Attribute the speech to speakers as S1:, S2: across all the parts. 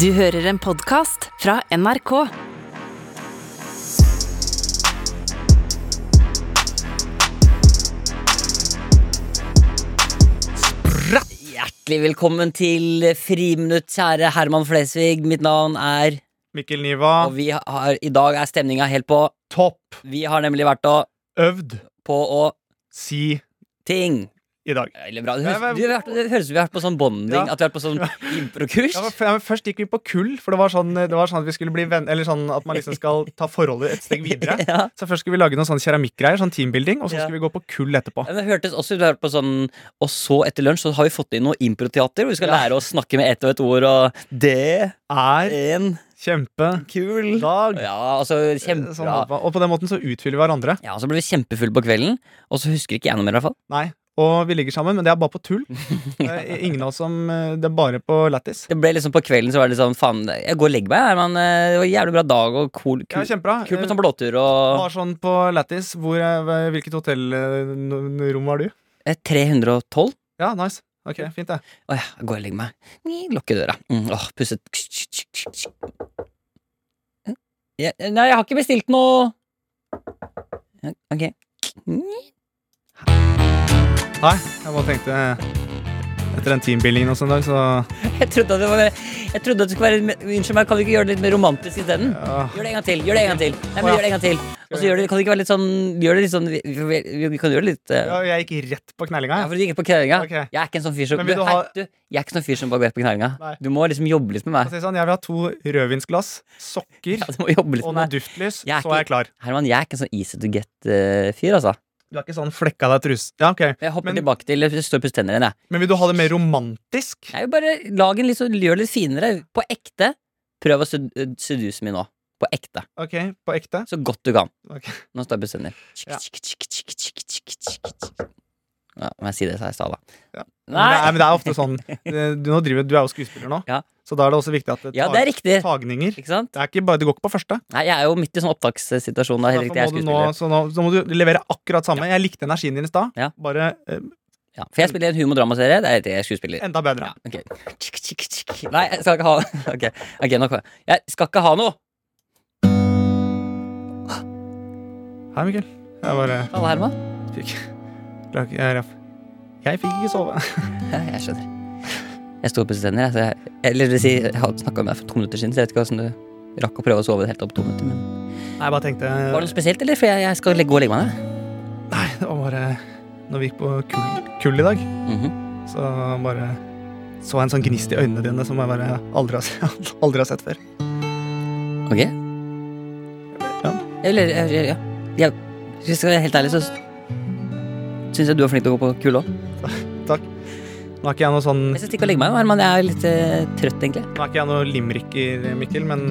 S1: Du hører en podkast fra NRK.
S2: Hjertelig velkommen til Friminutt, kjære Herman Flesvig. Mitt navn er
S3: Mikkel Niva,
S2: Og vi har, i dag er stemninga helt på.
S3: topp
S2: Vi har nemlig vært og
S3: øvd
S2: på og
S3: si
S2: ting.
S3: i dag.
S2: Veldig bra. Det
S3: Ja, men-
S2: høres, vi har vært, det høres ut som vi har vært på sånn bonding.
S3: Ja.
S2: At vi har vært på sånn improkurs.
S3: Ja, men f- ja, men først gikk vi på kull, for det var sånn, det var sånn at vi skulle bli venn, Eller sånn at man liksom skal ta forholdet et steg videre.
S2: Ja.
S3: Så først skulle vi lage noen sånne keramikkgreier, sånn teambuilding, og så
S2: Ja.
S3: skulle vi gå på kull etterpå.
S2: Ja, men det hørtes også ut som vi har vært på sånn Og så etter lunsj så har vi fått inn noe improteater, hvor vi skal
S3: Ja.
S2: lære å snakke med ett og ett ord, og det
S3: Er
S2: er en
S3: kjempekul dag.
S2: Ja, altså
S3: Sånn
S2: kjempebra.
S3: holdt man- og på den måten så utfyller vi hverandre.
S2: Ja, og så ble vi kjempefulle på kvelden, og så husker ikke jeg noe mer, i hvert fall.
S3: Nei. Og vi ligger sammen, men det er bare på tull. Det er Ingen av oss som eh, Det er bare på lættis.
S2: Det ble liksom På kvelden så var det litt sånn faen, jeg går og legger meg, her, men eh, det var en jævlig bra dag og cool,
S3: Ja,
S2: kul,
S3: kjempebra.
S2: kult med
S3: Eh,
S2: sånn blåtur og
S3: Var sånn på lættis. Hvor, eh, Hvilket hotellrom var du?
S2: Eh, 312.
S3: Ja, nice. Ok, fint, det.
S2: Å ja, jeg går og legger meg. Ni, Lukker døra. Mm, åh, pusset. Mm. Ja, nei, jeg har ikke bestilt noe Ja, Ok.
S3: Nei, jeg bare tenkte eh, Etter den teambuildingen og sånn dag, så
S2: Jeg trodde at det var Jeg trodde at det skulle være litt mer- Unnskyld meg, kan vi ikke gjøre det litt mer romantisk isteden?
S3: ja.
S2: Gjør det en gang til. Gjør det en gang til. Nei, men gjør det en gang til. Og så gjør det, kan det ikke være litt sånn Gjør det litt sånn Vi, vi, vi kan gjøre det litt eh,
S3: ja, Jeg gikk rett på knellinga.
S2: Ja,
S3: jeg.
S2: for du gikk på knæringa.
S3: Ok.
S2: Jeg er ikke en sånn fyr som
S3: Men
S2: du,
S3: vil du ha-
S2: hei, du, Jeg er ikke en sånn fyr som bare går rett på knæringa.
S3: Nei.
S2: Du må liksom jobbe litt med
S3: Jeg,
S2: meg.
S3: sier sånn, jeg vil ha to rødvinsglass, sokker
S2: Ja, du må jobbe litt
S3: og
S2: med
S3: noe
S2: meg.
S3: duftlys,
S2: Jeg er
S3: så er
S2: ikke-
S3: jeg klar.
S2: Herman, jeg er ikke en sånn easy to get-fyr, altså.
S3: Du har ikke sånn flekka deg trus. Ja, ok.
S2: Jeg hopper
S3: Men-
S2: tilbake til Jeg står og pusser tenner igjen, jeg.
S3: Men vil du ha det mer romantisk?
S2: Jeg vil bare lage en litt sånn Gjør det litt finere. På ekte. Prøv å sed- seduse meg nå. På ekte.
S3: Ok, På ekte?
S2: Så godt du kan.
S3: Ok.
S2: Nå står jeg og pusser tenner.
S3: Ja.
S2: Ja, må jeg si det sa jeg i stad, da?
S3: Ja.
S2: Nei!
S3: Nei, men det er ofte sånn eh, Du, nå driver, du er jo skuespiller nå,
S2: Ja.
S3: så da er det også viktig at det
S2: Ja, det er riktig.
S3: tagninger
S2: Ikke sant?
S3: det, er ikke bare, det går ikke på første.
S2: Nei, jeg er jo midt i sånn opptakssituasjon. Da, helt
S3: Derfor
S2: riktig, jeg er
S3: må du nå,
S2: skuespiller.
S3: så nå, så må du levere akkurat samme. Jeg likte energien din i stad.
S2: Ja.
S3: Bare eh,
S2: Ja, for jeg spiller i en humordramaserie. Det er helt riktig, jeg er skuespiller.
S3: enda bedre.
S2: Ok. Tsk, tsk, tsk. Nei, jeg skal ikke ha Ok, ok, nå kommer jeg. Jeg skal ikke ha noe!
S3: Hei, Mikkel. Jeg bare
S2: Halla, Herman.
S3: Fikk Klak- Jeg, eh, raff. jeg fikk ikke sove.
S2: Ja, jeg skjønner. Jeg sto opp i stender, jeg, så jeg, eller det vil si, jeg hadde snakka med deg for to minutter siden, så jeg vet ikke hvordan du rakk å prøve å sove helt opp to minutter. Men
S3: Nei, jeg bare tenkte
S2: var det noe spesielt, eller? For jeg, jeg skal legge, gå og legge meg. jeg.
S3: Nei, det var eh, bare Når vi gikk på kull, kull i dag,
S2: Mhm.
S3: så bare så jeg en sånn gnist i øynene dine som jeg bare aldri har, se- aldri har sett før.
S2: Ok?
S3: Ja.
S2: Eller, ja, ja, ja. Jeg, hvis jeg skal være helt ærlig, så syns jeg du er flink til å gå på kule òg.
S3: Nå er ikke jeg noe sånn
S2: Jeg skal stikke og legge meg, Herman. Jeg er litt eh, trøtt, egentlig.
S3: Nå er ikke jeg noe limericker, Mikkel, men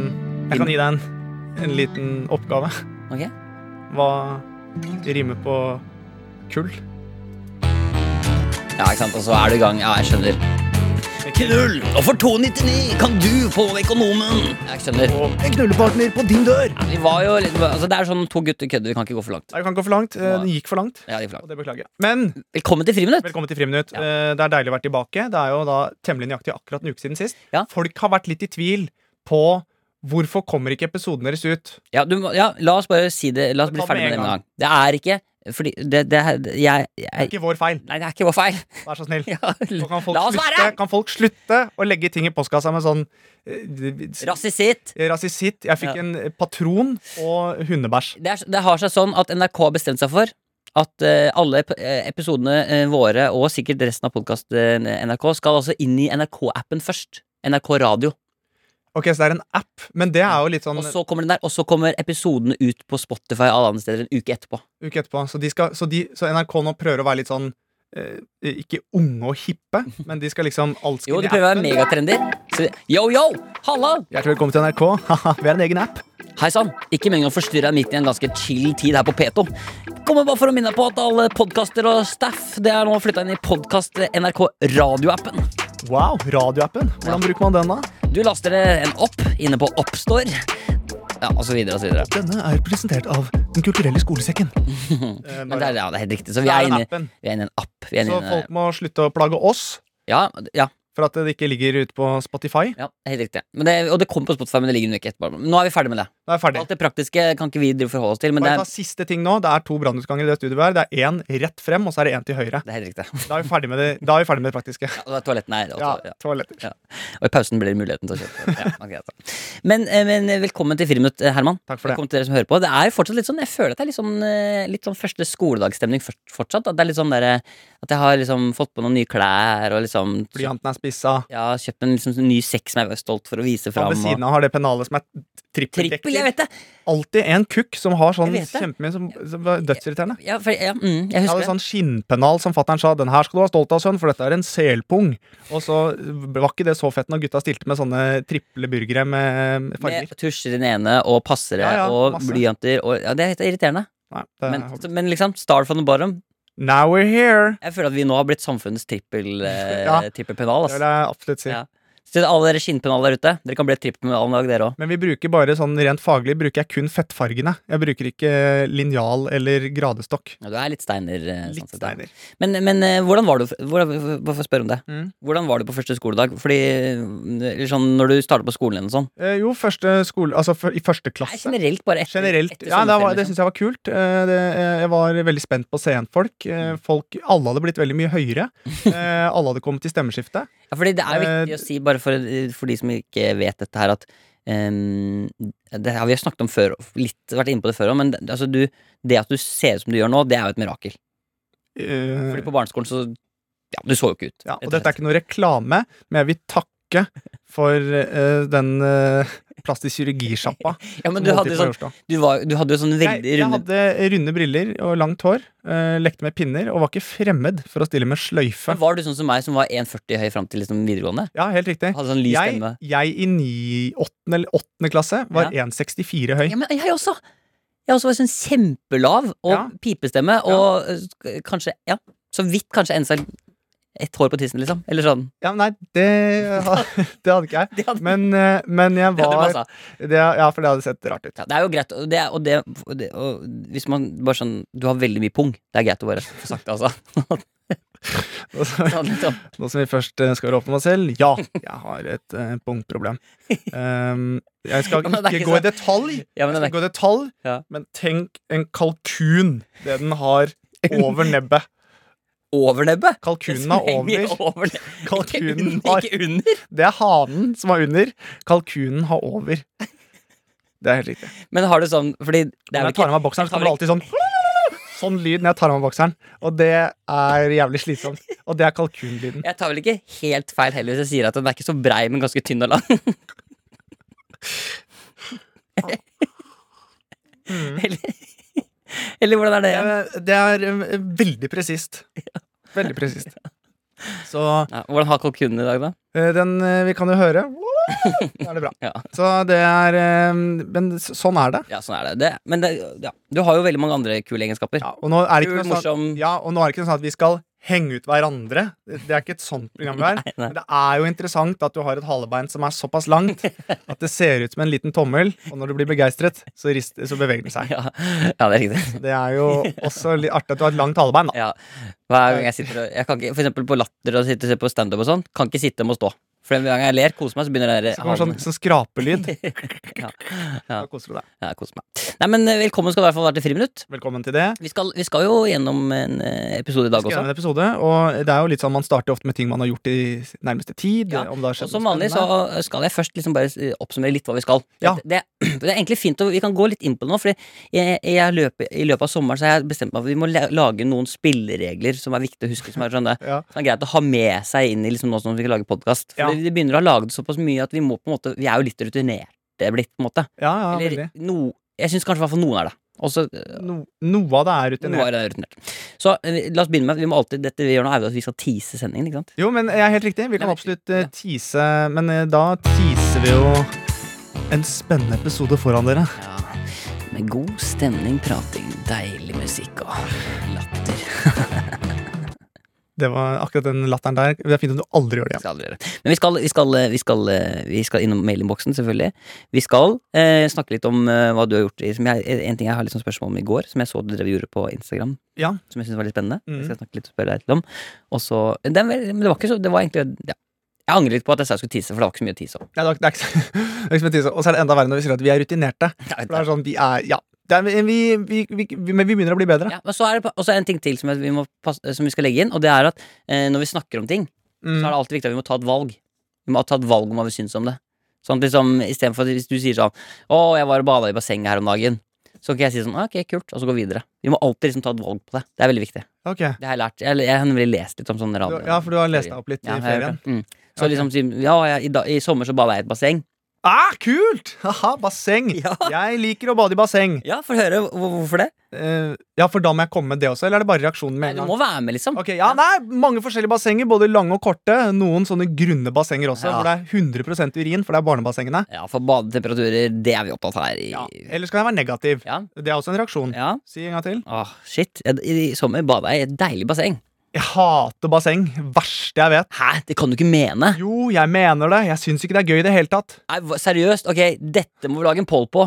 S3: jeg kan gi deg en, en liten oppgave.
S2: Ok?
S3: Hva rimer på kull?
S2: Ja, ikke sant. Og så er du i gang. Ja, jeg skjønner. Knull! Og for 2,99 kan du få Økonomen! Jeg skjønner.
S3: Og en knullepartner på din dør!
S2: Ja, Vi var jo litt, altså, det er sånn to gutter kødder, vi kan ikke gå for langt.
S3: Nei, Det kan gå for langt. Eh, Den gikk for langt.
S2: Ja, de er for langt.
S3: Og det beklager jeg. Men
S2: Velkommen til Friminutt!
S3: Velkommen til Friminutt. Eh, Det er deilig å være tilbake. Det er jo da temmelig nøyaktig akkurat en uke siden sist.
S2: Ja.
S3: Folk har vært litt i tvil på hvorfor kommer ikke episoden deres ut.
S2: Ja, du, må- ja, la oss bare si det. La oss
S3: Ta
S2: bli
S3: det
S2: ferdig med
S3: med
S2: det
S3: en
S2: med en gang. Det er ikke fordi det, det, er- jeg,
S3: Det er
S2: jeg
S3: ikke vår feil.
S2: Nei, det er ikke vår feil.
S3: Vær så snill.
S2: Ja,
S3: Så kan folk,
S2: la oss
S3: slutte,
S2: være!
S3: kan folk slutte å legge ting i postkassa med sånn eh,
S2: Rasisitt!
S3: Rasisitt. Jeg fikk
S2: Ja.
S3: en patron og hundebæsj.
S2: Det, er- det har seg sånn at NRK har bestemt seg for at eh, alle ep- eh, episodene eh, våre, og sikkert resten av podkasten NRK, skal altså inn i NRK-appen først. NRK Radio.
S3: Ok, Så det er en app, men det er jo litt sånn
S2: Og så kommer den der, og så kommer episodene ut på Spotify og alle andre steder en uke etterpå.
S3: uke etterpå. Så, de skal, så, de, så NRK nå prøver å være litt sånn eh, ikke unge og hippe, men de skal liksom alt skal
S2: Jo, de
S3: inn i
S2: prøver å være
S3: appen.
S2: megatrendy. Så- Yo, yo! Halla!
S3: Hjertelig velkommen til NRK. Haha, Vi har en egen app.
S2: Hei sann! Ikke meningen å forstyrre deg midt i en ganske chill tid her på P2. Kommer bare for å minne deg på at alle podkaster og staff Det er nå flytta inn i podkast NRK radioappen.
S3: Wow, radioappen. Hvordan bruker man den, da?
S2: Du laster en opp inne på Oppstore. Ja, og så videre og så videre.
S3: Denne er presentert av Den kulturelle skolesekken. Eh,
S2: Men det er, ja, det er helt riktig. Så
S3: Det
S2: vi
S3: er
S2: er
S3: en
S2: inne,
S3: appen.
S2: vi er inne i en app. Vi er
S3: Så
S2: inne, i en-
S3: folk må slutte å plage oss.
S2: ja, ja,
S3: For at det ikke ligger ute på Spotify.
S2: Ja, helt riktig. Men det, og det kommer på Spotify, men det ligger en uke etterpå. Men Nå er vi ferdig med det.
S3: Da er jeg ferdig.
S2: Alt det praktiske kan ikke vi drive og forholde oss til, men det
S3: Bare
S2: er,
S3: ta siste ting nå. Det er to brannutganger i det studioet her. Det er én rett frem, og så er det én til høyre.
S2: det er helt riktig.
S3: Da er vi ferdig med det, da er vi ferdig med det praktiske.
S2: Ja, og toalettene er
S3: Ja,
S2: også, ja.
S3: toaletter.
S2: Og i pausen blir det muligheten til å kjøpe. Ja, ok, altså. men, eh, men velkommen til Friminutt, eh, Herman.
S3: Takk for det.
S2: Velkommen til dere som hører på. Det er jo fortsatt litt sånn, Jeg føler at det er litt sånn, eh, litt sånn første skoledagsstemning først- fortsatt. At det er litt sånn der, eh, at jeg har liksom fått på noen nye klær og liksom
S3: Blyanten er spissa.
S2: ja, kjøpt en liksom, ny sekk som jeg var stolt for å vise
S3: Og
S2: fram.
S3: ved siden av har det pennalet som er
S2: Trippel, jeg
S3: trippeldekker.
S2: vet det!
S3: Alltid en kukk som har sånn
S2: Jeg vet det.
S3: kjempemye som, som var dødsirriterende.
S2: Ja, for, ja, mm, jeg
S3: Jeg
S2: husker
S3: hadde sånn skinnpennal som fatter'n sa 'den her skal du være stolt av, sønn, for dette er en selpung'. Og så var ikke det så fett når gutta stilte med sånne triple burgere med
S2: det.
S3: farger.
S2: Med tusjer i den ene og passere
S3: Ja, ja,
S2: og
S3: masse.
S2: blyanter og ja, Det er helt irriterende.
S3: Nei, det,
S2: Men, men liksom, start from the bottom.
S3: Now we're here!
S2: Jeg føler at vi nå har blitt samfunnets trippel, eh,
S3: Ja.
S2: trippelpennal.
S3: Det
S2: ass.
S3: vil jeg absolutt si.
S2: Ja. Så til alle dere skinnpennaler der ute, dere kan bli et trippelpennal en dag, dere òg.
S3: Men vi bruker bare sånn rent faglig bruker jeg kun fettfargene. Jeg bruker ikke linjal eller gradestokk.
S2: Ja, du er litt steiner. eh, sånn
S3: Litt
S2: sett, ja.
S3: steiner.
S2: Men, men eh, hvordan var du hvordan, Hvorfor spørre om det?
S3: Mm.
S2: Hvordan var du på første skoledag? Fordi eh, eller sånn, Når du starter på skolen igjen og sånn
S3: Eh, jo, første skole Altså fyr- i første
S2: Nei,
S3: klasse.
S2: generelt, bare etter,
S3: Generelt.
S2: etter
S3: Ja, det, var-
S2: sommerferien,
S3: det
S2: liksom.
S3: syns jeg var kult. Eh, Det, eh, jeg var veldig spent på å se igjen folk.
S2: Mm.
S3: Eh, folk. Alle hadde blitt veldig mye høyere. Eh, Alle hadde kommet til stemmeskiftet.
S2: ja, fordi det er jo
S3: Eh,
S2: viktig å si, bare for, for de som ikke vet dette her, at ehm, det har Vi har snakket om før, litt vært inne på det før òg, men det, altså, du, det at du ser ut som du gjør nå, det er jo et mirakel.
S3: Eh,
S2: Fordi på barneskolen så Ja, du så jo ikke ut.
S3: ja,
S2: rett
S3: og dette er
S2: slett.
S3: ikke noe reklame, men jeg vil takke for eh, den uh, plastisk kirurgisjappa.
S2: ja,
S3: som
S2: men du
S3: holdt
S2: hadde,
S3: til på
S2: sånn,
S3: Majorstua.
S2: du, var, du hadde jo sånn
S3: jeg,
S2: veldig
S3: jeg
S2: runde
S3: hadde runde briller og langt hår, eh, lekte med pinner og var ikke fremmed for å stille med sløyfe.
S2: Men var du sånn som meg som var 1,40 høy fram til liksom videregående?
S3: Ja, helt riktig.
S2: Hadde sånn lys
S3: Jeg,
S2: stemme?
S3: jeg i ni- åttende eller åttende klasse var 1,64 høy.
S2: Ja, men jeg også! Jeg også var sånn kjempelav og
S3: Ja.
S2: pipestemme og eh, sk- kanskje Ja, så vidt kanskje en selv ett hår på tissen, liksom. Eller sånn.
S3: Ja, men nei, det, det hadde ikke jeg.
S2: Det hadde,
S3: Men, eh, men jeg
S2: det hadde
S3: var
S2: passa.
S3: det, Ja, for det hadde sett rart ut.
S2: Ja, det er jo greit, og det, er- og det, og det og Hvis man bare sånn Du har veldig mye pung. Det er greit å bare få sagt det, altså.
S3: Og så-
S2: Sånn, liksom.
S3: Nå som vi først eh, skal være åpne med oss selv Ja, jeg har et eh, punktproblem Ehm, Jeg skal
S2: Ja, men det er
S3: ikke
S2: ikke
S3: gå i
S2: så-
S3: detalj Jeg
S2: Ja, men
S3: skal
S2: det
S3: ikke gå i detalj
S2: Ja.
S3: Men tenk en kalkun Det den har over nebbet
S2: er over nebbet!
S3: Kalkunen har
S2: Som henger
S3: over
S2: over det.
S3: Kalkunen
S2: Ikke,
S3: har-
S2: under, ikke under!
S3: Det er hanen som har under Kalkunen har over Det er helt riktig
S2: Men har du sånn Fordi det er jo
S3: Når jeg tar
S2: ikke
S3: av meg
S2: jeg
S3: bokseren, så kommer det
S2: tar
S3: alltid sånn Sånn lyd når jeg tar av meg bokseren Og det er jævlig slitsomt Og det er kalkunlyden
S2: Jeg tar vel ikke helt feil heller hvis jeg sier at den er ikke så brei, men ganske tynn og lang. eller, eller hvordan er det? igjen?
S3: Eh, Det er eh, veldig presist. Veldig presist. Så
S2: Ja, hvordan har kalkunen i dag, da?
S3: eh, den eh, vi kan jo høre. Da er det bra.
S2: Ja.
S3: Så det er eh, Men s- sånn er det.
S2: Ja, sånn er det. det men det, ja. du har jo veldig mange andre kule egenskaper.
S3: Ja, og nå er det
S2: Kul,
S3: ikke noe sånn,
S2: morsom
S3: ja, og nå er det ikke sånn at vi skal henge ut hverandre. Det det er ikke et sånt program vi
S2: Nei,
S3: er.
S2: nei.
S3: Men det er jo interessant at du har et halebein som er såpass langt at det ser ut som en liten tommel, og når du blir begeistret, så, rist- så beveger den seg.
S2: Ja, ja, det er riktig.
S3: Det er jo også litt artig at du har et langt halebein, da.
S2: Ja. Hver gang jeg sitter og jeg kan ikke, For eksempel på Latter og sitter og ser på standup og sånn, kan ikke sitte, må stå. For hver gang jeg ler, koser meg, så begynner det
S3: Så kommer det sånn, sånn skrapelyd. Da koser du deg.
S2: Ja, jeg koser meg. Nei, men eh, velkommen skal du i hvert fall være til Friminutt.
S3: Velkommen til det.
S2: Vi skal, vi skal jo gjennom en eh, episode i dag
S3: Vi skal
S2: også.
S3: gjennom en episode, og det er jo litt sånn man starter ofte med ting man har gjort i nærmeste tid.
S2: Ja,
S3: om det har
S2: Og
S3: skjedd
S2: som
S3: noe
S2: vanlig så
S3: spennende.
S2: skal jeg først liksom bare eh, oppsummere litt hva vi skal.
S3: Ja.
S2: Det, det, det er egentlig fint, og vi kan gå litt inn på det nå, for jeg, jeg løper, i løpet av sommeren så har jeg bestemt meg for at vi må la- lage noen spilleregler som er viktig å huske, som er, sånn, det,
S3: Ja.
S2: som er greit å ha med seg inn i liksom, nå som vi skal lage podkast. For
S3: Ja.
S2: vi, vi begynner å ha laget såpass mye at vi må på en måte Vi er jo litt rutinerte blitt, på en måte.
S3: ja, ja,
S2: Eller
S3: veldig.
S2: no, jeg syns kanskje i hvert fall noen er det. Også, eh,
S3: No, noe av det er
S2: noe
S3: rutinert.
S2: er det rutinert. Så eh, la oss begynne med Vi må alltid, dette vi gjør nå, er jo at vi skal tease sendingen, ikke sant?
S3: Jo, men jeg er helt riktig. Vi kan
S2: Nei,
S3: absolutt eh,
S2: ja.
S3: tease, men eh, da teaser vi jo en spennende episode foran dere.
S2: Ja. Med god stemning, prating, deilig musikk og latter.
S3: Det var akkurat den latteren der. Det er fint om du aldri gjør det igjen.
S2: Skal aldri gjøre det. Men vi skal, vi skal, vi skal, vi skal innom mailinnboksen, selvfølgelig. Vi skal eh, snakke litt om eh, hva du har gjort. i- Som jeg, en ting jeg har litt sånn spørsmål om i går, som jeg så du drev og gjorde på Instagram.
S3: Ja.
S2: Som jeg syntes var litt spennende.
S3: Mhm.
S2: Jeg skal snakke litt og spørre deg litt om. Og så, det, er vel- men det var ikke så Det var egentlig ja, Jeg angrer litt på at jeg sa jeg skulle tisse, for det var ikke så mye å tisse om.
S3: Nei, det er, det er ikke, så- det er ikke så mye tid, så- Og så er det enda verre når vi sier at vi er rutinerte. For det er sånn, vi er, ja det er, vi, vi, vi, vi, Men vi begynner å bli bedre.
S2: Ja, men så er det, og så er det en ting til som vi, må passe, som vi skal legge inn, og det er at eh, når vi snakker om ting, så er
S3: Mm.
S2: det alltid viktig at vi må ta et valg. Vi må ta et valg om hva vi syns om det. Sånn at liksom, Istedenfor hvis du sier sånn 'Å, jeg var og bada i bassenget her om dagen', så kan ikke jeg si sånn «Ah, 'Ok, kult', og så gå videre. Vi må alltid liksom ta et valg på det. Det er veldig viktig.
S3: Ok.
S2: Det har jeg lært. Jeg, jeg har nemlig lest litt om sånne
S3: Du,
S2: radio.
S3: ja, for du har lest deg opp litt
S2: Ja,
S3: i
S2: jeg har
S3: ferien.
S2: gjort det. Mm. Så
S3: Ok.
S2: liksom si Ja, jeg, i, dag- i sommer så bada jeg i et basseng.
S3: Ah, kult! Haha, basseng.
S2: Ja.
S3: Jeg liker å bade i basseng.
S2: Ja, få høre hvor- hvorfor det.
S3: Eh, ja, for da må jeg komme med det også, eller er det bare reaksjonen med
S2: Du
S3: en
S2: må
S3: gang?
S2: være med, liksom.
S3: Ok, ja, nei, Mange forskjellige bassenger, både lange og korte. Noen sånne grunne bassenger også,
S2: Ja.
S3: hvor det er 100 urin, for det er barnebassengene.
S2: Ja, for badetemperaturer, det er vi opptatt av her i
S3: Ja. Ellers kan jeg være negativ.
S2: Ja.
S3: Det er også en reaksjon.
S2: ja.
S3: Si en gang til.
S2: Åh, shit. Jeg, I i sommer bada jeg i et deilig basseng.
S3: Jeg hater basseng. Verste jeg vet.
S2: Hæ? Det kan du ikke mene!
S3: Jo, jeg mener det. Jeg syns ikke det er gøy i det hele tatt.
S2: Nei, hva- seriøst, ok, dette må vi lage en poll på.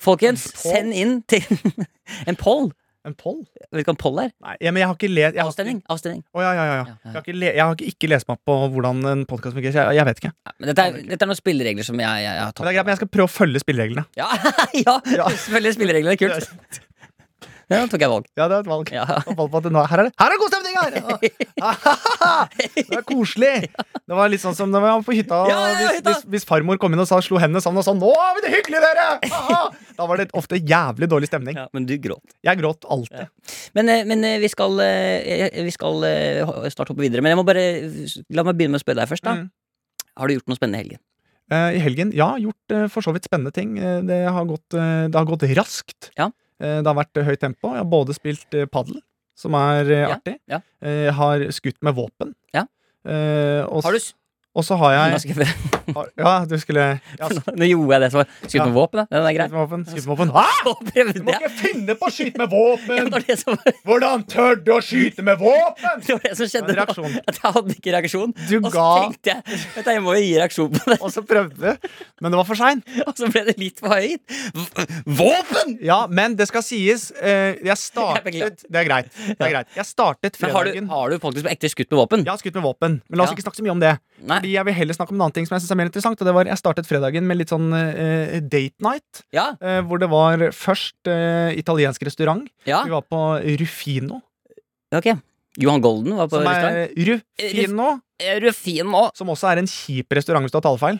S2: Folkens,
S3: En poll?
S2: send inn til En poll?
S3: En poll?
S2: Vet du hva en poll er?
S3: Nei, ja, men jeg har ikke lest jeg har,
S2: Avstemning. avstemning.
S3: Å, ja, ja, ja,
S2: Ja,
S3: ja.
S2: ja.
S3: Jeg har ikke, le jeg har ikke, ikke lest meg opp på hvordan en podkast fungerer. så Jeg, jeg vet ikke.
S2: Nei, men dette, er, dette er noen spilleregler som jeg, jeg, jeg har
S3: Men det
S2: tatt.
S3: er greit, men jeg skal prøve å følge spillereglene.
S2: Ja, ja,
S3: Ja.
S2: selvfølgelig spilleregler. Kult. Ja, da tok jeg valg.
S3: Ja, det er et valg.
S2: Ja.
S3: Jeg falt på at det nå, her, er det, her er det god stemning! her! Ah, Det er koselig! Det var litt sånn som når vi var på hytta. og
S2: Ja, ja, ja,
S3: hvis,
S2: hytta.
S3: hvis, hvis farmor kom inn og sa, slo hendene sammen og sa 'Nå har vi det hyggelig, dere!' Aha! Da var det ofte jævlig dårlig stemning.
S2: Ja, men du gråt.
S3: Jeg gråt alltid.
S2: Men, eh, men eh, vi skal, eh, eh, vi skal eh, ho- snart hoppe videre. Men jeg må bare la meg begynne med å spørre deg først. da
S3: Mm.
S2: Har du gjort noe spennende i helgen?
S3: Eh, I helgen, ja, gjort eh, for så vidt spennende ting. Eh, Det har gått, eh, det har gått raskt.
S2: Ja.
S3: Eh, Det har vært eh, høyt tempo. Jeg har både spilt eh, padel, som er eh,
S2: Ja,
S3: artig.
S2: ja.
S3: Eh, Jeg har skutt med våpen.
S2: Ja.
S3: Eh, og, s-
S2: Har du s-
S3: og så har
S2: Nå
S3: jeg
S2: skal jeg bare-
S3: har, Ja, du skulle ja, skutt
S2: Nå gjorde jeg det som var skutt med
S3: Ja.
S2: våpen. da. Den er grei.
S3: med våpen. Skutt med våpen. Hæ?!
S2: Så prøvde
S3: Du må
S2: jeg.
S3: ikke finne på å skyte med
S2: Det
S3: våpen!
S2: var det som, det
S3: Hvordan tør du å skyte med våpen?!
S2: var det som skjedde.
S3: Det
S2: nå.
S3: var en reaksjon.
S2: At jeg hadde ikke reaksjon.
S3: Du
S2: Og så
S3: ga-
S2: tenkte jeg vet du, jeg må jo gi reaksjon på det,
S3: Og så prøvde du, men det var for seint.
S2: og så ble det litt for høyt. V- Våpen!
S3: Ja, men det skal sies. eh, Jeg
S2: beklager.
S3: startet Det er greit. Det er greit. Jeg startet
S2: Men har du,
S3: fredagen
S2: har du faktisk på ekte skutt med våpen?
S3: Jeg har skutt med våpen, men la oss
S2: Ja.
S3: ikke snakke så mye om det.
S2: Nei.
S3: Fordi Jeg vil heller snakke om en annen ting som jeg synes er mer interessant. Og det var, Jeg startet fredagen med litt sånn eh, date night.
S2: Ja.
S3: eh, hvor det var først eh, italiensk restaurant.
S2: ja.
S3: Vi var på Rufino.
S2: Ok. Johan Golden var på
S3: Som
S2: restaurant.
S3: er Rufino,
S2: Er du fin nå?
S3: som også er en kjip restaurant hvis du har talefeil.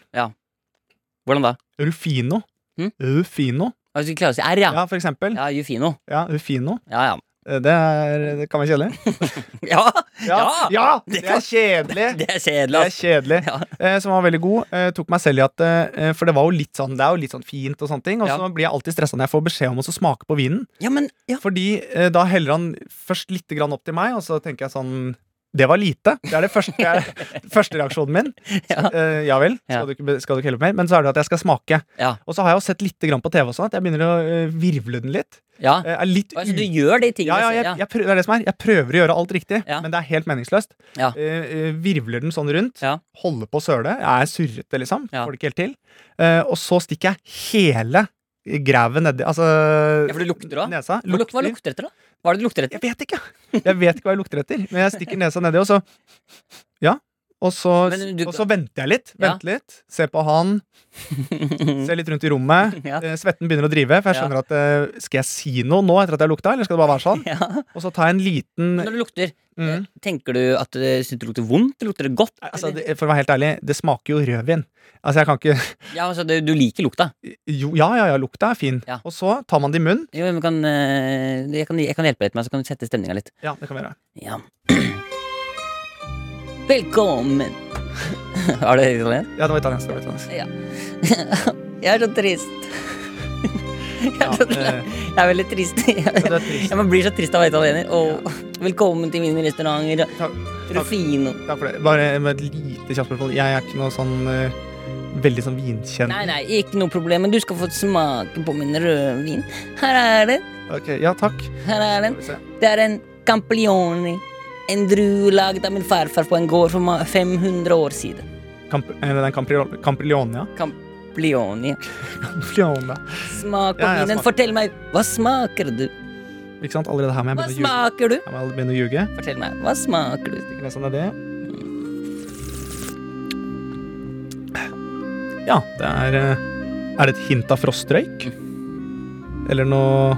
S2: Hvordan da?
S3: Rufino.
S2: Mm.
S3: Rufino.
S2: Ah, Hvis du klarer å si R, ja.
S3: Ja, for eksempel.
S2: Ja, Jufino.
S3: Ja, Rufino.
S2: Ja, ja.
S3: Eh, Det, er, det kan være kjedelig.
S2: Ja! Ja!
S3: ja!
S2: Det
S3: Det
S2: kan-
S3: er kjedelig!
S2: Det er
S3: Det
S2: kjedelig,
S3: er
S2: ass.
S3: kjedelig.
S2: Ja.
S3: Eh, som var veldig god. Eh, tok meg selv i at eh, For det var jo litt sånn Det er jo litt sånn fint og sånne ting. Og
S2: Ja.
S3: så blir jeg alltid stressa når jeg får beskjed om å så smake på vinen.
S2: Ja, men ja.
S3: Fordi eh, da heller han først lite grann opp til meg, og så tenker jeg sånn det var lite. Det er det første, det er første reaksjonen min.
S2: Ja.
S3: Eh, ja vel,
S2: Ja.
S3: skal du, ikke, be- skal du ikke helle opp mer? Men så er det at jeg skal smake.
S2: Ja.
S3: Og så har jeg jo sett litt grann på TV også, at jeg begynner å eh, virvle den litt.
S2: ja.
S3: Eh, er litt
S2: Altså, du
S3: u-
S2: gjør de
S3: ja,
S2: tingene.
S3: ja,
S2: jeg
S3: jeg,
S2: ser,
S3: jeg prøver, det er det som er. Jeg prøver å gjøre alt riktig,
S2: Ja.
S3: men det er helt meningsløst.
S2: Ja.
S3: Eh, eh, virvler den sånn rundt,
S2: Ja.
S3: holder på å søle, jeg er surrete, liksom.
S2: Ja.
S3: Får det ikke helt til. Eh, og så stikker jeg hele grevet nedi altså,
S2: Ja, for det lukter da.
S3: nesa.
S2: Hva luk- Hva lukter etter, da? Hva er det du lukter etter?
S3: Jeg vet ikke! Jeg vet ikke hva jeg lukter etter, men jeg stikker nesa nedi, og så Ja. Og så,
S2: Men du-
S3: og så venter jeg litt.
S2: Ja.
S3: Venter litt. Ser på han. Ser litt rundt i rommet.
S2: Ja.
S3: Eh, Svetten begynner å drive, for
S2: Ja.
S3: jeg skjønner at eh, Skal jeg si noe nå etter at jeg har lukta, eller skal det bare være sånn?
S2: Ja.
S3: Og så tar jeg en liten
S2: Når det lukter,
S3: mm,
S2: Tenker du at det synes du lukter vondt? eller Lukter det godt?
S3: altså,
S2: eller?
S3: det, For å være helt ærlig, det smaker jo rødvin. Altså, jeg kan ikke
S2: ja, altså, det, du liker lukta.
S3: Jo, ja, ja, ja, lukta er fin.
S2: Ja.
S3: Og så tar man det i munnen.
S2: Jo, men kan, eh, jeg, kan, jeg kan hjelpe deg litt med så kan du sette stemninga litt.
S3: Ja, det kan vi gjøre.
S2: Ja. Velkommen! Var det italiensk?
S3: Ja, det var italiensk. Det var italiensk.
S2: Jeg er så trist. Jeg er, så,
S3: Ja, eh,
S2: jeg er veldig trist.
S3: ja,
S2: Jeg,
S3: det er trist.
S2: man blir så trist av å være italiener. Og velkommen til min restaurant
S3: Takk,
S2: Rufino.
S3: takk for det. Bare med et lite kjapt spørsmål. Jeg er ikke noe sånn eh, veldig sånn vinkjent.
S2: Nei, nei, ikke noe problem, men du skal få smake på min rødvin. Her er den.
S3: Ok, Ja, takk.
S2: Her er den.
S3: Skal vi se.
S2: Det er en campione. En drue laget av min farfar på en gård for ma- 500 år siden.
S3: Camp, eh, den Campri- Camprionia.
S2: Campione.
S3: Camprionia.
S2: Smak på
S3: Ja, jeg
S2: vinen.
S3: smaker.
S2: Fortell meg, hva smaker du?
S3: Ikke sant? Allerede her må jeg
S2: Hva
S3: begynne å ljuge.
S2: smaker du?
S3: Jeg må begynne å ljuge.
S2: Fortell meg, hva smaker du?
S3: Stikker nesa nedi. Ja, det er eh, Er det et hint av frostrøyk? Eller noe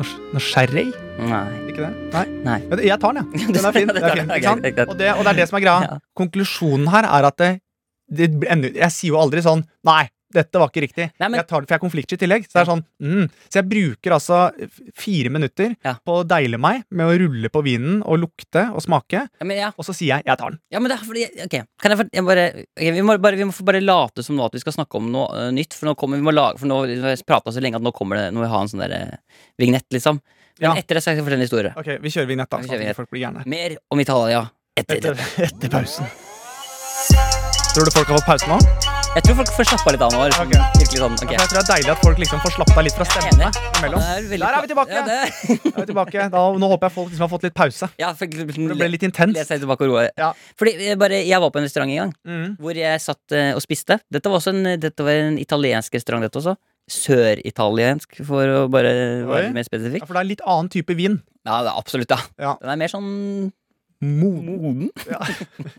S3: Noe, noe sherry?
S2: Nei.
S3: Ikke det? Nei.
S2: Nei.
S3: Men Jeg tar den, jeg. Den er fin. Den er fin ikke sant?
S2: Greit, greit.
S3: Og, det, og det er det som er greia.
S2: Ja.
S3: Konklusjonen her er at det, det ender, Jeg sier jo aldri sånn Nei, dette var ikke riktig.
S2: Nei, men-
S3: jeg tar den, For jeg er konfliktsky i tillegg. Så det er sånn mm. Så jeg bruker altså f- fire minutter
S2: Ja.
S3: på å deile meg med å rulle på vinen og lukte og smake,
S2: Ja, men ja,
S3: og så sier jeg 'jeg tar den'.
S2: ja, men det er fordi Ok, kan jeg, for- jeg bare, ok, vi, må bare, vi må få bare late som nå at vi skal snakke om noe eh, nytt. For nå kommer vi må lage For nå vi har prata så lenge at nå kommer det Nå må vi ha en sånn der eh, vignett, liksom. Men
S3: Ja.
S2: etter det skal jeg fortelle en historie.
S3: Ok, vi kjører vignett, da.
S2: Vi kjører
S3: Sånn at
S2: vignett.
S3: ikke folk blir gærne.
S2: Mer om Italia etter
S3: Etter,
S2: dette.
S3: etter pausen. Tror du folk har fått pause nå?
S2: Jeg tror folk får slappa litt av nå. liksom.
S3: Ok.
S2: Virkelig sånn.
S3: Ja,
S2: Ok.
S3: for jeg tror det er deilig at folk liksom får slappet av litt fra
S2: Jeg er
S3: stemmene
S2: enig.
S3: imellom.
S2: Det veldig
S3: Der er vi
S2: bra.
S3: tilbake!
S2: Ja, det,
S3: Da er vi tilbake. Da, nå håper jeg folk liksom har fått litt pause.
S2: ja, for,
S3: For Det ble litt intenst.
S2: seg tilbake og roe.
S3: Ja.
S2: Fordi eh, bare, jeg var på en restaurant en gang
S3: Mm.
S2: hvor jeg satt eh, og spiste. Dette var også en, dette var en italiensk restaurant, dette også. Sør-italiensk, for å bare være
S3: Oi.
S2: mer
S3: Ja,
S2: spesifikk.
S3: for det er en litt annen type vin.
S2: Ja, det er absolutt, ja.
S3: Ja.
S2: Den er mer sånn
S3: Moden.
S2: moden.
S3: Ja.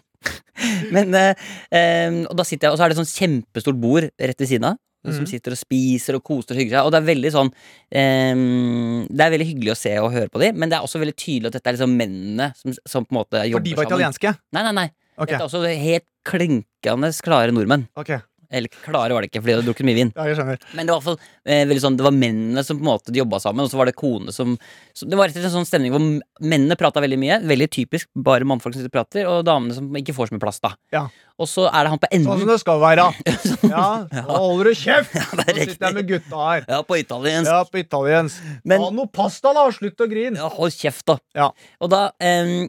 S2: Men eh, em, Og da sitter jeg, og så er det sånn kjempestort bord rett ved siden av. Som
S3: Mhm.
S2: sitter og spiser og koser og hygger seg. Og det er veldig sånn em, Det er veldig hyggelig å se og høre på dem, men det er også veldig tydelig at dette er liksom mennene som, som på en måte
S3: For
S2: jobber
S3: de var
S2: sammen.
S3: italienske?
S2: Nei, nei, nei.
S3: Ok.
S2: Dette er også helt klinkende klare nordmenn.
S3: ok.
S2: Eller klare var det ikke, fordi de hadde drukket mye vin.
S3: Ja, jeg skjønner.
S2: Men det var, i hvert fall, eh, veldig sånn, det var mennene som på en måte jobba sammen, og så var det kone som så Det var rett og slett en sånn stemning hvor mennene prata veldig mye. Veldig typisk bare mannfolk som sitter og prater, og damene som ikke får så mye plass, da.
S3: Ja.
S2: Og så er det han på
S3: Sånn
S2: enden.
S3: som det skal være. Ja, nå holder du kjeft! Nå
S2: sånn. det er
S3: sitter jeg med gutta her.
S2: Ja, på italiensk.
S3: Ja, på italiensk.
S2: Men
S3: Ha noe pasta, da! Slutt å grine!
S2: ja, hold kjeft, da.
S3: Ja.
S2: Og da em,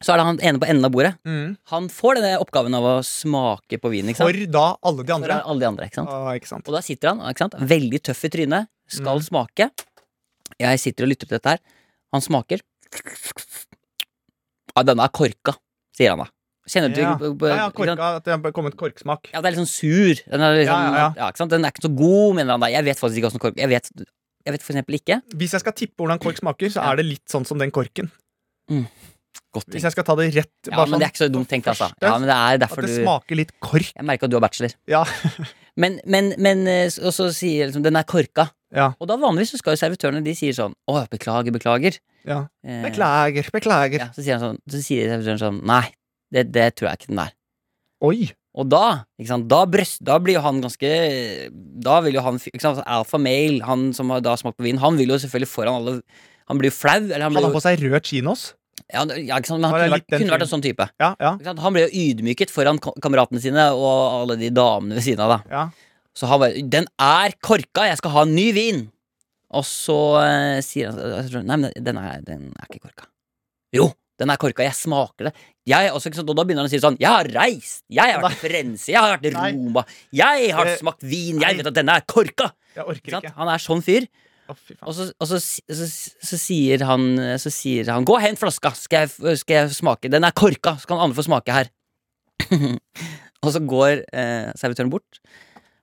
S2: så er det han ene på enden av bordet.
S3: Mm.
S2: Han får denne oppgaven av å smake på vin, ikke
S3: For
S2: sant?
S3: da alle de andre.
S2: For alle de andre, ikke sant?
S3: Ah, ikke sant.
S2: Og da sitter han, ikke sant? veldig tøff i trynet, skal
S3: Mm.
S2: smake. Jeg sitter og lytter til dette her. Han smaker. Ja, denne er korka, sier han da. Kjenner du til
S3: Ja.
S2: b- b-
S3: Ja, ja,
S2: ikke sant?
S3: korka, at det er kommet korksmak.
S2: ja, det er litt sånn sur. Den er, liksom,
S3: Ja,
S2: ja,
S3: ja, ja.
S2: ikke sant? den er ikke så god, mener han da. Jeg vet faktisk ikke åssen kork jeg vet, jeg vet for eksempel ikke.
S3: Hvis jeg skal tippe hvordan kork smaker, så
S2: Ja.
S3: er det litt sånn som den korken.
S2: Godt tenkt.
S3: Hvis jeg skal ta det rett
S2: Ja,
S3: bare
S2: men det er ikke så
S3: sånn,
S2: dumt tenkt, altså.
S3: første,
S2: Ja, men det er
S3: At
S2: derfor
S3: det
S2: du
S3: smaker litt kork.
S2: Jeg merker at du er bachelor.
S3: Ja.
S2: Men, men, men eh, s- Og så sier jeg liksom Den er korka.
S3: Ja.
S2: Og da vanligvis så skal jo servitørene De sier sånn Å, beklager, beklager.
S3: Ja.
S2: Eh,
S3: Beklager, beklager.
S2: Ja, så sier han sånn, så sier servitøren sånn Nei, det, det tror jeg ikke den er.
S3: Oi!
S2: Og da, ikke sant, da, brøst, da blir jo han ganske Da vil jo han ikke sant, Alfa male, han som har da smakt på vin, han vil jo selvfølgelig foran alle Han blir jo flau. Eller han
S3: Hadde
S2: blir
S3: han
S2: jo,
S3: på seg rød chinos?
S2: ja, han- ja, ikke sant, men han
S3: Var det
S2: kunne,
S3: litt
S2: vært,
S3: den
S2: kunne vært en
S3: fyren?
S2: sånn type.
S3: Ja, ja.
S2: Ikke sant? Han ble jo ydmyket foran ko- kameratene sine og alle de damene ved siden av. da
S3: ja.
S2: Så han bare 'Den er korka! Jeg skal ha en ny vin!' Og så eh, sier han 'Nei, men den er, den er ikke korka'. Jo, den er korka. Jeg smaker det. Jeg, og, så, ikke sant, og da begynner han å si sånn 'Jeg har reist. Jeg har vært i Firenze. Jeg har vært i
S3: Nei.
S2: Roma. Jeg har
S3: Eh,
S2: smakt vin.
S3: nei.
S2: Jeg vet at denne er korka!'
S3: Jeg
S2: Ikke
S3: orker
S2: sant?
S3: ikke.
S2: Han er sånn fyr.
S3: Å, fy faen.
S2: Og så, og så, si- så, så sier han Så sier han 'Gå og hent flaska, skal jeg, skal jeg smake. Den er korka, så kan andre få smake her'. og så går eh, servitøren bort.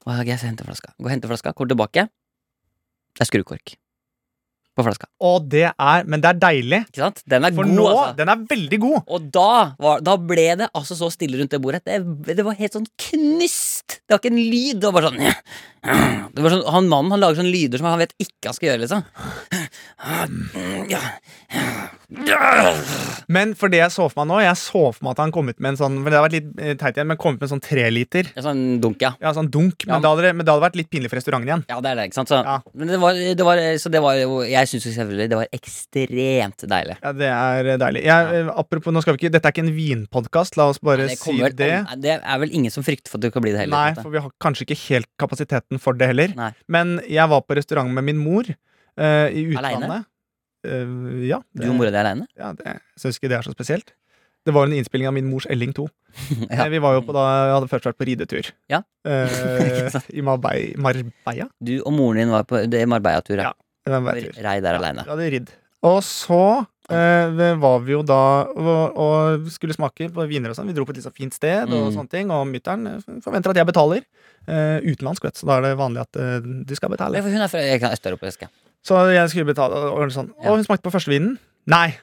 S2: Og jeg skal hente flaska. Gå og hente flaska, kommer tilbake. Det er skrukork på flaska.
S3: Og det er Men det er deilig,
S2: Ikke sant? Den er
S3: for
S2: god,
S3: nå
S2: altså.
S3: Den er veldig god!
S2: Og da, var, da ble det altså så stille rundt det bordet. Det, det var helt sånn knust. Det var ikke en lyd. Det var bare sånn det var sånn, han Mannen han lager sånne lyder som han vet ikke han skal gjøre. liksom
S3: Men for det jeg så for meg nå Jeg så for meg at han kom ut med en sånn For det har vært litt eh, teit igjen, men kom ut med en sånn treliter.
S2: En sånn dunk, ja.
S3: Ja, sånn dunk, men,
S2: Ja.
S3: Det hadde, men det hadde vært litt pinlig for restauranten igjen.
S2: Ja, det er det, ikke sant? Så,
S3: Ja.
S2: men det var, det var, så det var jo Jeg syns jo selvfølgelig det var ekstremt deilig.
S3: Ja, Det er eh, deilig. Jeg, eh, apropos, nå skal vi ikke Dette er ikke en vinpodkast, la oss bare
S2: Det,
S3: si
S2: kommer,
S3: det.
S2: vel- det er vel ingen som frykter for at det kan bli det heller.
S3: Nei,
S2: på en måte.
S3: for vi har kanskje ikke helt kapasiteten for det heller.
S2: Nei.
S3: Men jeg var på restaurant med min mor eh, i
S2: Alene?
S3: utlandet. Eh, ja,
S2: Du
S3: det,
S2: og mora di aleine?
S3: ja, det syns ikke det er så spesielt. Det var en innspilling av min mors Elling 2.
S2: Ja.
S3: Eh, Vi var jo på da, jeg hadde først vært på ridetur.
S2: Ja.
S3: Eh,
S2: Ikke sant?
S3: I Marbei- Marbella?
S2: Du og moren din var på det Marbella-tur.
S3: Ja,
S2: Ja.
S3: Hvem vet tur.
S2: Rei der aleine.
S3: Ja, det er ridd. Og så eh, det var vi jo da og, og skulle smake på viner og sånn. Vi dro på et litt sånn fint sted, og
S2: Mm.
S3: sånne ting Og mutter'n forventer at jeg betaler. Eh, utenlandsk, vet du, så da er det vanlig at eh, du skal betale.
S2: Hun er fra Øst-Europa, husker jeg.
S3: Så jeg skulle betale, og, og, sånn.
S2: Ja.
S3: og hun smakte på første vinen. Nei!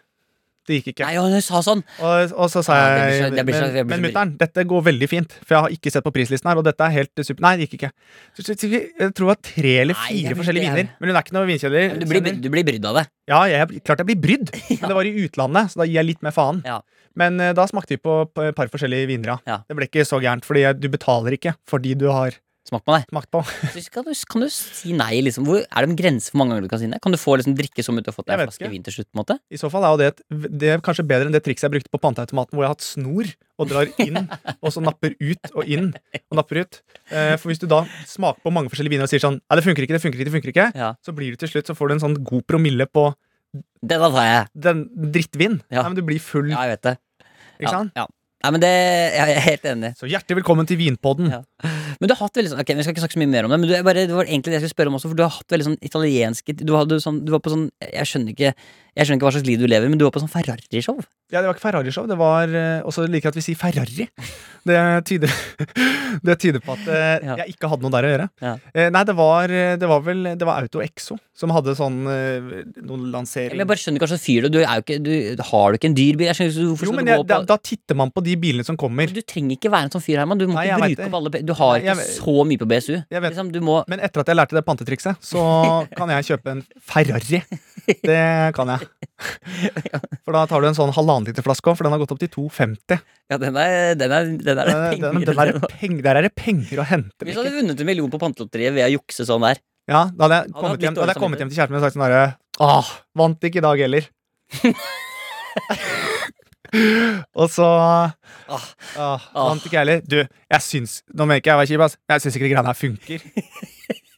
S3: Det gikk ikke.
S2: Nei, og hun sa sånn!
S3: Og, og så sa
S2: Ja, det blir
S3: jeg
S2: så- det blir så- det
S3: Men,
S2: blir så
S3: men mutter'n, dette går veldig fint, for jeg har ikke sett på prislisten her. Og dette er helt super Nei, det gikk ikke. Så, så, så, vi- jeg tror det var tre eller
S2: Nei,
S3: fire
S2: jeg blir
S3: forskjellige
S2: ikke
S3: viner.
S2: enig.
S3: Men hun er ikke noe vinkjeder.
S2: Du blir, du blir brydd av det.
S3: Ja, jeg, blir- klart jeg blir brydd, men det var i utlandet, så da gir jeg litt mer faen.
S2: Ja.
S3: Men eh, da smakte vi på på et par forskjellige viner,
S2: Ja.
S3: Det ble ikke så gærent, fordi jeg, du betaler ikke for de du har
S2: Smak på det.
S3: smakt på.
S2: Så Kan du, kan du si nei, liksom? Hvor, er det en grense for hvor mange ganger du kan si nei? Kan du få liksom drikke som om du har fått deg en
S3: Jeg vet
S2: flaske
S3: ikke.
S2: vin til slutt? på en måte?
S3: I så fall er jo det, et, det er kanskje bedre enn det trikset jeg brukte på panteautomaten, hvor jeg har hatt snor og drar inn, og så napper ut og inn og napper ut. Eh, for hvis du da smaker på mange forskjellige viner og sier sånn Nei, det funker ikke, det funker ikke, det funker ikke,
S2: Ja.
S3: så blir du til slutt så får du en sånn god promille på
S2: Det da tar jeg.
S3: den drittvin.
S2: Ja.
S3: Nei, men du blir full,
S2: Ja, jeg vet det.
S3: ikke sant?
S2: Ja, ja. Nei, men det, Jeg er helt enig.
S3: Så hjertelig velkommen til Vinpodden.
S2: Ja. Men du har hatt veldig sånn Ok, vi skal ikke snakke så mye mer om det Men du, er bare, det var egentlig det jeg skulle spørre om også For du har hatt veldig sånn italienske Du, hadde sånn, du var på sånn Jeg skjønner ikke Jeg skjønner ikke hva slags liv du lever Men du var på sånn Ferrari-show
S3: Ja, det var ikke Ferrari-show. Det var eh, også liker jeg at vi sier Ferrari. Det tyder, det tyder på at eh,
S2: Ja.
S3: jeg ikke hadde noe der å gjøre.
S2: Ja.
S3: Eh, nei, det var, det var vel Det var Auto Exo som hadde sånn eh, noen
S2: Men
S3: lansering.
S2: jeg bare skjønner ikke hva slags fyr du er. Du er jo ikke du, Har du ikke en dyr bil? Jeg skjønner ikke hvorfor
S3: jo,
S2: skal
S3: men
S2: du
S3: jeg,
S2: gå
S3: da,
S2: på
S3: da titter man på de bilene som kommer.
S2: Du trenger ikke være en sånn fyr, Herman Du må
S3: Nei, jeg
S2: ikke bruke
S3: vet det.
S2: opp alle pe- Du har
S3: Nei, jeg
S2: ikke
S3: vet-
S2: så mye på BSU
S3: Jeg vet.
S2: liksom, Du må
S3: Men etter at jeg lærte det pantetrikset, så kan jeg kjøpe en Ferrari. Det kan jeg. For da tar du en sånn halvannen liter flaske òg, for den har gått opp til 2,50.
S2: Ja, den er Den er, den er, liksom.
S3: Den, den, den der, er peng, der er det penger å hente.
S2: Hvis du
S3: Mikkel.
S2: hadde vunnet en million på pantelotteriet Ved å jukse sånn der
S3: Ja, da hadde
S2: Ja,
S3: jeg
S2: det hadde
S3: kommet,
S2: blitt
S3: hjem, da hadde
S2: dårlig
S3: jeg kommet hjem til kjæresten min og sagt sånn herre Åh, vant ikke i dag heller. og så
S2: ah,
S3: Åh, vant ikke jeg heller. Du, jeg syns Nå mener ikke jeg å være kjip, ass. men Jeg syns ikke de greiene her funker.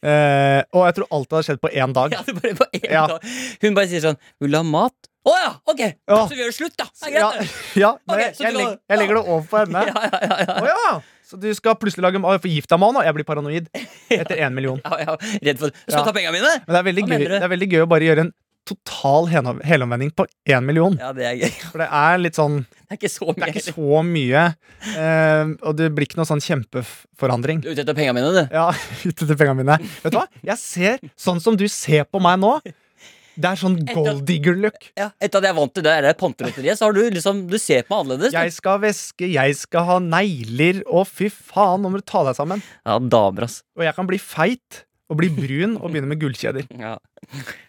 S3: Eh, og jeg tror alt hadde skjedd på én dag.
S2: ja, det er bare på en
S3: Ja.
S2: dag Hun bare sier sånn Vil du ha mat? Åja, ok
S3: Ja.
S2: Så vi gjør det slutt da Det er
S3: Ja,
S2: greit det.
S3: ja men
S2: Ok,
S3: jeg,
S2: så
S3: jeg,
S2: du
S3: legger,
S2: har-
S3: jeg legger det over på henne.
S2: Ja, ja, ja,
S3: Å
S2: ja.
S3: ja! Så du skal plutselig lage Å, jeg forgifta meg nå? Jeg blir paranoid. Etter én million.
S2: ja, ja. Redd for Skal
S3: Ja.
S2: ta pengene mine?
S3: Men det er veldig
S2: Hva
S3: gøy,
S2: mener du?
S3: det er veldig gøy å bare gjøre en total heno- helomvending på én million.
S2: Ja, det er gøy.
S3: For det er litt sånn
S2: Det er ikke så
S3: Det
S2: mye.
S3: er ikke så mye, eh, og det blir ikke noe sånn kjempeforandring.
S2: Du er ute etter pengene mine, du.
S3: Ja, ute til pengene mine. Vet du hva? Jeg ser sånn som du ser på meg nå. Det er sånn golddigger-look.
S2: Ja, Etter at jeg vant til det der pantelotteriet, så har du liksom Du ser på meg annerledes. du.
S3: Jeg skal væske, jeg skal ha negler, og fy faen, nå må du ta deg sammen.
S2: Ja, damer, ass.
S3: Og jeg kan bli feit og bli brun og begynne med gullkjeder.
S2: Ja.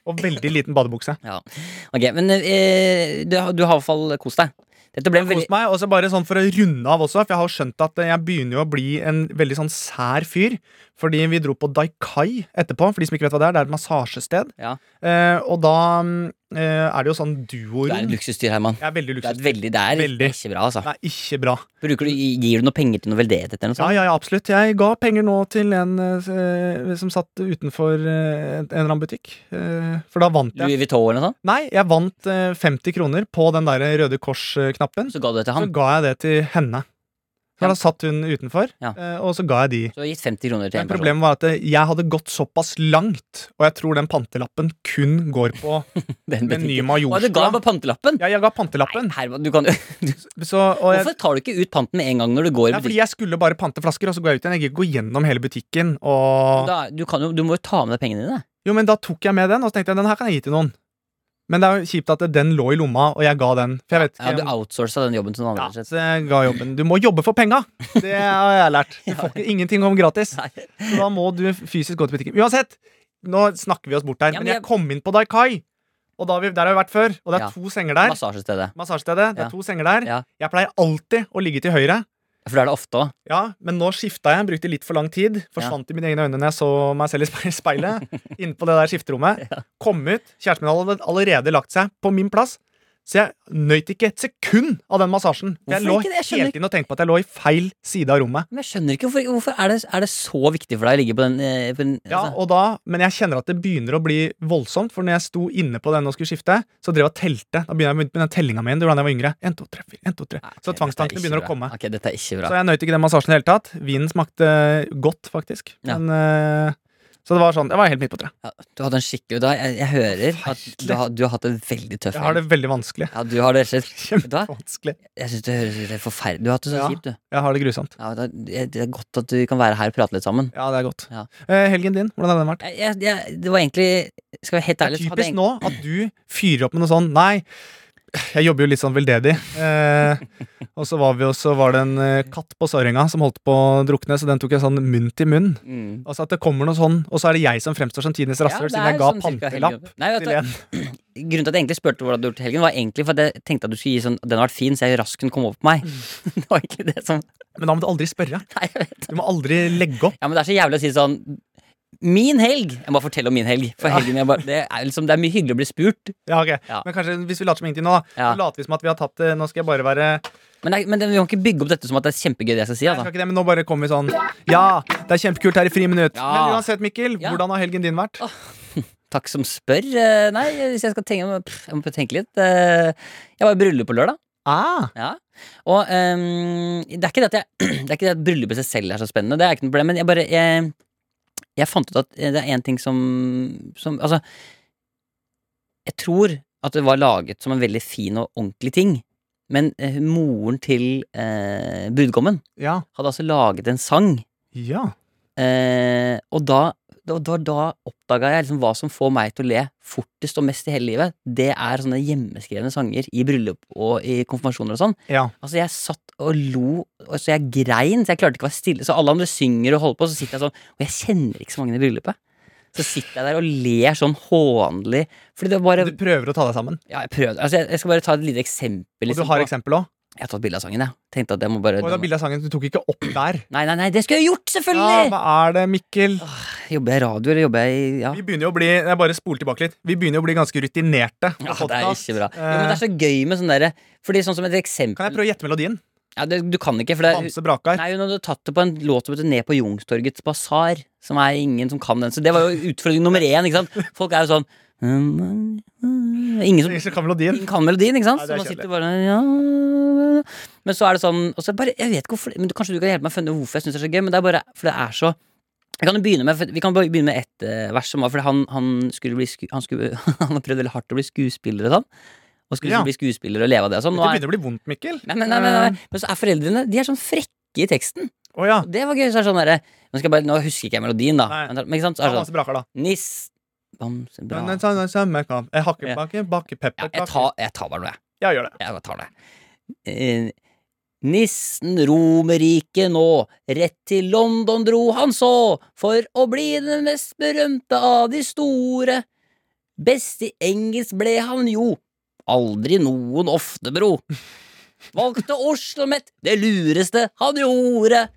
S3: Og veldig liten badebukse.
S2: Ok, men eh, du, har- du har i hvert fall kost deg. Dette ble en veldig
S3: Kos meg, og så bare sånn for å runde av også, for jeg har skjønt at jeg begynner jo å bli en veldig sånn sær fyr. Fordi vi dro på Daikai etterpå, for de som ikke vet hva det er. Det er et massasjested.
S2: Ja.
S3: Eh, og da mm, eh, er det jo sånn
S2: Du er et
S3: duorom.
S2: luksusdyr, Herman.
S3: Jeg er veldig
S2: Du er et
S3: luksus.
S2: veldig Det er
S3: Veldig.
S2: ikke bra, altså.
S3: Nei, ikke bra.
S2: Bruker du, gir du noe penger til noe veldedighet eller noe
S3: Ja,
S2: sånt?
S3: ja, ja, absolutt. Jeg ga penger nå til en eh, som satt utenfor eh, en eller annen butikk. Eh, for da vant jeg.
S2: Louis Vuitton eller noe sånt?
S3: Nei, jeg vant eh, 50 kroner på den der Røde Kors-knappen.
S2: Så ga du det til
S3: Så
S2: han.
S3: ga jeg det til henne. For
S2: Ja.
S3: da satt hun utenfor,
S2: Ja.
S3: eh, og så ga jeg de.
S2: Så du har gitt 50 kroner til en
S3: Men
S2: person.
S3: problemet var at eh, jeg hadde gått såpass langt, og jeg tror den pantelappen kun går på
S2: Den
S3: en
S2: butikken. Å, du
S3: ny
S2: ga
S3: majorstua.
S2: ham på pantelappen?
S3: Ja, jeg ga
S2: Nei,
S3: pantelappen.
S2: Herman, du kan
S3: Så, og jeg,
S2: Hvorfor tar du ikke ut panten med en gang når du går i
S3: ja, fordi
S2: butikken?
S3: jeg skulle bare pante flasker, og så går jeg ut igjen. Jeg gidder ikke gå gjennom hele butikken. Og...
S2: Da, du, kan jo, du må jo ta med deg pengene dine.
S3: Jo, men da tok jeg med den, og så tenkte jeg den her kan jeg gi til noen. Men det er jo kjipt at den lå i lomma, og jeg ga den. For jeg vet
S2: Ja,
S3: ikke
S2: du outsourca den jobben til noen
S3: ja,
S2: andre.
S3: så jeg ga jobben. Du må jobbe for penga! Det har jeg lært. Du får ikke ingenting om gratis.
S2: Nei.
S3: Så da må du fysisk gå til butikken. Uansett! Nå snakker vi oss bort her,
S2: Ja, men
S3: men jeg
S2: jeg-
S3: kom inn på Daikai. Og da har vi, der har vi vært før, og det er
S2: Ja.
S3: to senger der.
S2: Massasjestedet.
S3: Massasjestedet. Det
S2: Ja.
S3: er to senger der.
S2: Ja.
S3: Jeg pleier alltid å ligge til høyre.
S2: For det er det ofte òg.
S3: Ja, men nå skifta jeg. Brukte litt for lang tid. Forsvant i mine egne øyne når jeg så meg selv i spe- speilet. Inne på det der skifterommet. Kom ut. Kjæresten min hadde allerede lagt seg på min plass. Så jeg nøt ikke et sekund av den massasjen. For Jeg
S2: Hvorfor
S3: lå
S2: ikke det? Jeg skjønner
S3: hele tiden og tenkte på at jeg lå i feil side av rommet.
S2: Men jeg skjønner ikke hvorfor, hvorfor er, det, er det så viktig for deg å ligge på den, eh, på den
S3: Ja,
S2: altså?
S3: og da, Men jeg kjenner at det begynner å bli voldsomt, for når jeg sto inne på den og skulle skifte, så drev jeg og telte. Da begynner jeg med den tellinga mi. Det var da jeg var yngre. En, to, tre, fire, en, to, tre.
S2: Nei, Ah, ok,
S3: Så
S2: dette er
S3: tvangstankene
S2: ikke
S3: begynner å
S2: bra.
S3: komme.
S2: Ok, dette er ikke bra.
S3: Så jeg nøt ikke den massasjen i det hele tatt. Vinen smakte godt, faktisk.
S2: Ja.
S3: Men, eh, så det var sånn, jeg var helt midt på treet.
S2: Ja, du hadde en skikkelig da, jeg, jeg hører at du har, du har hatt det veldig tøft.
S3: Jeg har det veldig vanskelig.
S2: Ja, du har det rett og slett. Vet du hva?
S3: Kjempevanskelig.
S2: Jeg syns det høres ut som forferdelig Du har hatt det så
S3: Ja.
S2: kjipt, du.
S3: Jeg har det grusomt.
S2: Ja, det, er, det er godt at du kan være her og prate litt sammen.
S3: Ja, det er godt.
S2: Ja.
S3: Eh, helgen din, hvordan har den vært?
S2: Jeg, jeg, jeg, det var egentlig Skal jeg være helt
S3: Det er
S2: ærlig så hadde jeg
S3: typisk nå at du fyrer opp med noe sånn Nei, Jeg jobber jo litt sånn veldedig. Eh, og så var, vi også, så var det en eh, katt på Sørenga som holdt på å drukne, så den tok jeg sånn munn til munn.
S2: Mm.
S3: Altså at det kommer noe sånn, Og så er det jeg som fremstår som tidenes rasshøl,
S2: det
S3: siden
S2: er
S3: jeg ga
S2: sånn cirka
S3: pantelapp
S2: helgen. Nei, vet
S3: til
S2: du,
S3: en.
S2: Grunnen til at jeg egentlig spurte hvordan du gjorde det til helgen, var egentlig for at jeg tenkte at du skulle gi sånn Den har vært fin, så jeg raskt kunne komme over på meg.
S3: Mm.
S2: det var egentlig det som
S3: Men da må du aldri spørre.
S2: Nei, jeg vet.
S3: Du må aldri legge opp.
S2: Ja, men det er så jævlig å si sånn Min helg! Jeg må fortelle om min helg. For helgen jeg bare, det, er liksom, det er mye hyggelig å bli spurt.
S3: Ja, ok.
S2: Ja.
S3: Men kanskje hvis vi later som ingenting nå, da.
S2: Ja.
S3: Så later vi som at vi har tatt det. Nå skal jeg bare være
S2: Men, det, er- men det, vi kan ikke bygge opp dette som at det er kjempegøy, det jeg skal si.
S3: Jeg skal
S2: Altså.
S3: ikke det, men nå bare kommer vi sånn Ja, det er kjempekult her i friminutt.
S2: Ja.
S3: Men uansett, Mikkel,
S2: Ja.
S3: hvordan har helgen din vært?
S2: Takk som spør. Eh, Nei, hvis jeg skal tenke pff, Jeg må tenke litt. Eh, Jeg var i bryllup på lørdag.
S3: Ah,
S2: Ja. Og ehm, det er ikke det at jeg Det er ikke det at bryllup i seg selv er så spennende, det er ikke noe problem, men jeg bare Jeg, jeg fant ut at eh, det er én ting som, som Altså, jeg tror at det var laget som en veldig fin og ordentlig ting, men eh, moren til eh, brudgommen
S3: ja.
S2: hadde altså laget en sang,
S3: Ja.
S2: eh, og da da, da, da oppdaga jeg liksom hva som får meg til å le fortest og mest i hele livet. Det er sånne hjemmeskrevne sanger i bryllup og i konfirmasjoner og sånn.
S3: ja.
S2: Altså Jeg satt og lo, og så jeg grein, så jeg klarte ikke å være stille. Så alle andre synger og holder på, så sitter jeg sånn, og jeg kjenner ikke så mange i bryllupet. Så sitter jeg der og ler sånn hånlig. Fordi det var bare
S3: Du prøver å ta deg sammen.
S2: Ja, jeg prøvde. Altså, jeg, jeg skal bare ta et lite eksempel.
S3: Og du
S2: liksom,
S3: har
S2: på-
S3: eksempel òg.
S2: Jeg har tatt bilde av sangen, jeg. Tenkte at jeg må bare
S3: Og da bildet av sangen du tok ikke opp der.
S2: Nei, nei, nei, det skulle jeg gjort,
S3: Ja,
S2: selvfølgelig!
S3: hva er det, Mikkel?
S2: Jobber jeg i radio, eller jobber jeg i Ja.
S3: Vi begynner jo å bli jeg bare spol tilbake litt Vi begynner jo å bli ganske rutinerte. på
S2: Ja, det er
S3: podcast. Eh.
S2: ikke bra. Jo, men det er så gøy med sånn derre Fordi sånn som et
S3: Kan jeg
S2: eksempel
S3: prøve å gjette melodien?
S2: ja, det, Du kan ikke, for det er
S3: Bamse Brakar.
S2: Nei, hun hadde tatt det på en låt som heter Ned på Jungstorgets basar. Som er ingen som kan den. Så det var jo utfordring nummer én. ikke sant? Folk er jo sånn Ingen som
S3: Ingen som kan melodien.
S2: ingen kan melodien, ikke sant? Så
S3: Nei, det er
S2: man sitter bare ja. Men så er det sånn og så bare, Jeg vet ikke hvorfor men du- Kanskje du kan hjelpe meg å finne hvorfor jeg syns det er så gøy, men det er bare For det er så jeg kan jo begynne med, for- Vi kan bare begynne med ett eh, vers som var Fordi han, han skulle bli sku, Han skulle Han har prøvd veldig hardt å bli skuespiller og sånn. Og skulle
S3: Ja.
S2: bli skuespiller og leve av det og sånn.
S3: Det
S2: Nå er,
S3: begynner Eh. å bli vondt, Mikkel.
S2: nei, men, nei, men, nei, men så er foreldrene De er sånn frekke i teksten.
S3: Å ja.
S2: Det var gøy. Så er det sånn derre Nå, skal jeg bare- nå husker ikke jeg melodien, da.
S3: Nei.
S2: Men, men ikke sant? Så
S3: Ta
S2: er det sånn
S3: Bamse Brakar, da.
S2: Niss Bamse bra.
S3: Men den sa- den samme kamp. Jeg hakker
S2: Ja.
S3: bake, baker
S2: Ja, jeg,
S3: pepperkaker.
S2: tar, jeg tar bare noe, jeg.
S3: Ja, gjør det.
S2: Jeg bare tar det. Eh, Nissen Romerriket nå, rett til London dro han så, for å bli den mest berømte av de store. Best i engelsk ble han jo, aldri noen ofte, bro. Valgte Oslo Met, det lureste han gjorde.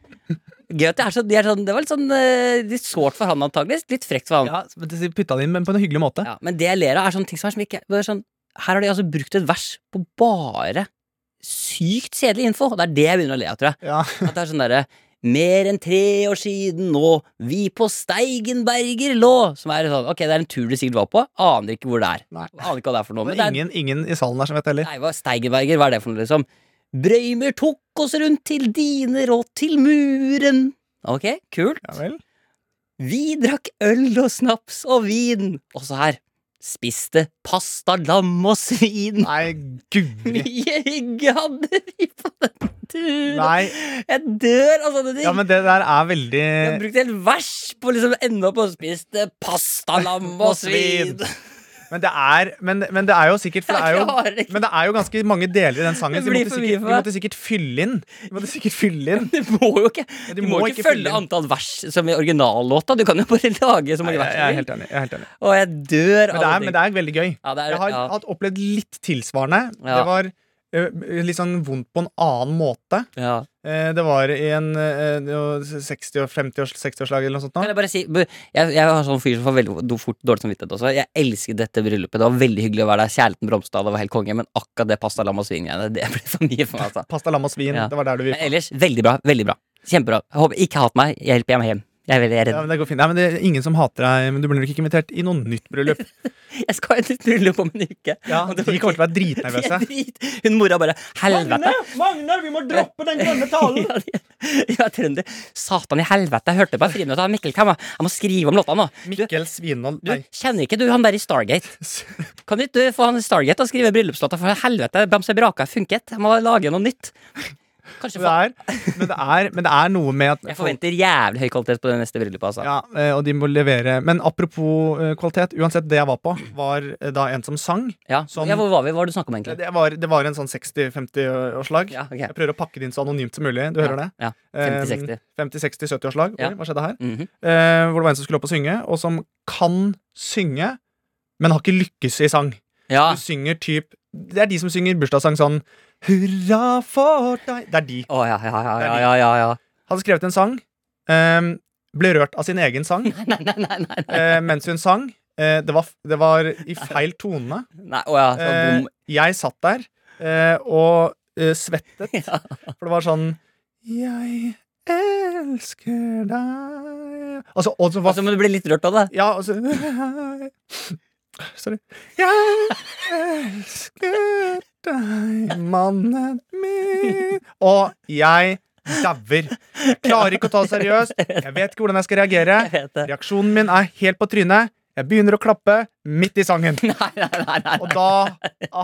S2: Gøy at det er så, de er sånn, det var litt sånn eh, litt sårt for han antageligvis, litt frekt for han.
S3: Ja, men det- Putta den inn, men på en hyggelig måte.
S2: Ja, men det jeg ler av, er sånne ting som er som ikke bare sånn, Her har de altså brukt et vers på bare sykt kjedelig info. Og det er det jeg begynner å le av, tror jeg.
S3: Ja.
S2: At det er sånn derre Mer enn tre år siden nå, vi på Steigenberger lå Som er sånn, ok, det er en tur du sikkert var på, aner ikke hvor det er.
S3: Nei.
S2: Aner ikke hva det er for noe.
S3: Og
S2: Men
S3: det
S2: det
S3: er
S2: er,
S3: ingen, ingen i salen her som vet heller.
S2: nei, hva, Steigenberger, hva er det for noe, liksom? Brøymer tok oss rundt til diner og til muren. Ok, kult.
S3: Ja vel.
S2: Vi drakk øl og snaps og vin. Og så her. Spiste pasta, lam og svin.
S3: Nei, guri.
S2: Mye hygge hadde vi på den turen.
S3: Nei.
S2: Jeg dør av sånne ting.
S3: Ja, men det der er veldig
S2: Jeg har brukt helt vers på å liksom ende opp og spiste pasta, lam og
S3: Og svin.
S2: svin.
S3: Men det er, men, men det er jo sikkert for det er
S2: Jeg
S3: jo,
S2: klarer ikke.
S3: Men det er jo ganske mange deler i den sangen,
S2: Det
S3: så vi
S2: blir
S3: måtte,
S2: for mye
S3: sikkert,
S2: for
S3: vi
S2: meg.
S3: måtte sikkert fylle inn. Vi måtte sikkert fylle inn.
S2: Du må jo ikke,
S3: Ja,
S2: du må jo ikke følge antall vers som i originallåta. Du kan jo bare lage så
S3: Nei,
S2: mange
S3: jeg,
S2: vers.
S3: jeg er
S2: du vil.
S3: helt enig. Jeg er helt enig.
S2: Og jeg dør
S3: Men,
S2: av
S3: det er,
S2: sånne
S3: men
S2: ting.
S3: det er veldig gøy.
S2: Ja, det er-
S3: Jeg har
S2: ja.
S3: hatt opplevd litt tilsvarende.
S2: Ja.
S3: Det var ø, litt sånn vondt på en annen måte.
S2: Ja.
S3: Eh, Det var i en ø, det var 60- og 50-års 60-årslag eller noe sånt. nå.
S2: Kan jeg bare si bu- Jeg, jeg har sånn fyr som får veldig do- fort dårlig samvittighet også. Jeg elsket dette bryllupet. Det var veldig hyggelig å være der. Kjærligheten blomstra, det var helt konge. Men akkurat det pasta lam og svin-greiene, det ble for mye for meg, altså.
S3: Pasta, lam og svin.
S2: Ja.
S3: Det var der du
S2: Men
S3: vil.
S2: ellers, veldig bra. Veldig bra. Kjempebra. Jeg håper ikke hat meg. Jeg hjelper hjem hjem. Jeg er veldig jeg er
S3: Ja,
S2: redd.
S3: men det går fint. Nei, men det er ingen som hater deg, men du blir nok ikke invitert i noe nytt bryllup.
S2: Jeg skal ha et nytt bryllup om en uke.
S3: Ja,
S2: Og
S3: De
S2: det var
S3: kommer til å være
S2: helt-
S3: dritnervøse.
S2: drit. Hun mora bare Helvete!
S3: Magnar, vi må droppe den grønne talen!
S2: Ja, de- ja, trønder. Satan i helvete, jeg hørte på en friminutt av Mikkel Kam. Jeg må skrive om låta nå. Du,
S3: Mikkel Svinhold
S2: du
S3: Nei.
S2: kjenner ikke du han der i Stargate?
S3: Jeg
S2: Kan ikke du få han Stargate og skrive bryllupslåta for helvete? Bamse Braka funket. Jeg må lage noe nytt. Kanskje
S3: Men det er, men det er, men det er noe med at
S2: Jeg forventer jævlig høy kvalitet på det neste bryllupet. Altså.
S3: ja, eh, og de må levere Men apropos eh, kvalitet, uansett det jeg var på, var eh, da en som sang.
S2: Ja.
S3: Som-
S2: ja, hvor var vi? Hva var det du snakket om, egentlig?
S3: sånn- Det var, det var en sånn 60-50-årslag.
S2: Ja, ok.
S3: Jeg prøver å pakke det inn så anonymt som mulig. Du hører det?
S2: Ja.
S3: Eh,
S2: 50-60.
S3: 50-60-70-årslag.
S2: Ja.
S3: Oi, hva skjedde her?
S2: Mhm.
S3: Eh, hvor det var en som skulle opp og synge, og som kan synge, men har ikke lykkes i sang.
S2: Ja.
S3: Du synger typ Det er de som synger bursdagssang sånn Hurra for deg Det er de.
S2: Å ja, ja, ja, ja, ja, ja, ja.
S3: Hadde skrevet en sang. ehm, ble rørt av sin egen sang
S2: Nei, nei, nei, nei, nei.
S3: eh, mens hun sang. Eh, det, var, det var i feil tone.
S2: nei å ja, så
S3: Eh,
S2: bom.
S3: jeg satt der eh, og eh, svettet,
S2: Ja.
S3: for det var sånn Jeg elsker deg Altså, og så var
S2: Altså, men du blir litt rørt av det.
S3: Ja, altså Sorry. Jeg elsker deg, mannen min Og jeg dauer. Jeg klarer ikke å ta det seriøst. Jeg vet ikke hvordan jeg skal reagere.
S2: Jeg vet det.
S3: Reaksjonen min er helt på trynet. Jeg begynner å klappe midt i sangen.
S2: Nei, nei, nei, nei.
S3: Og da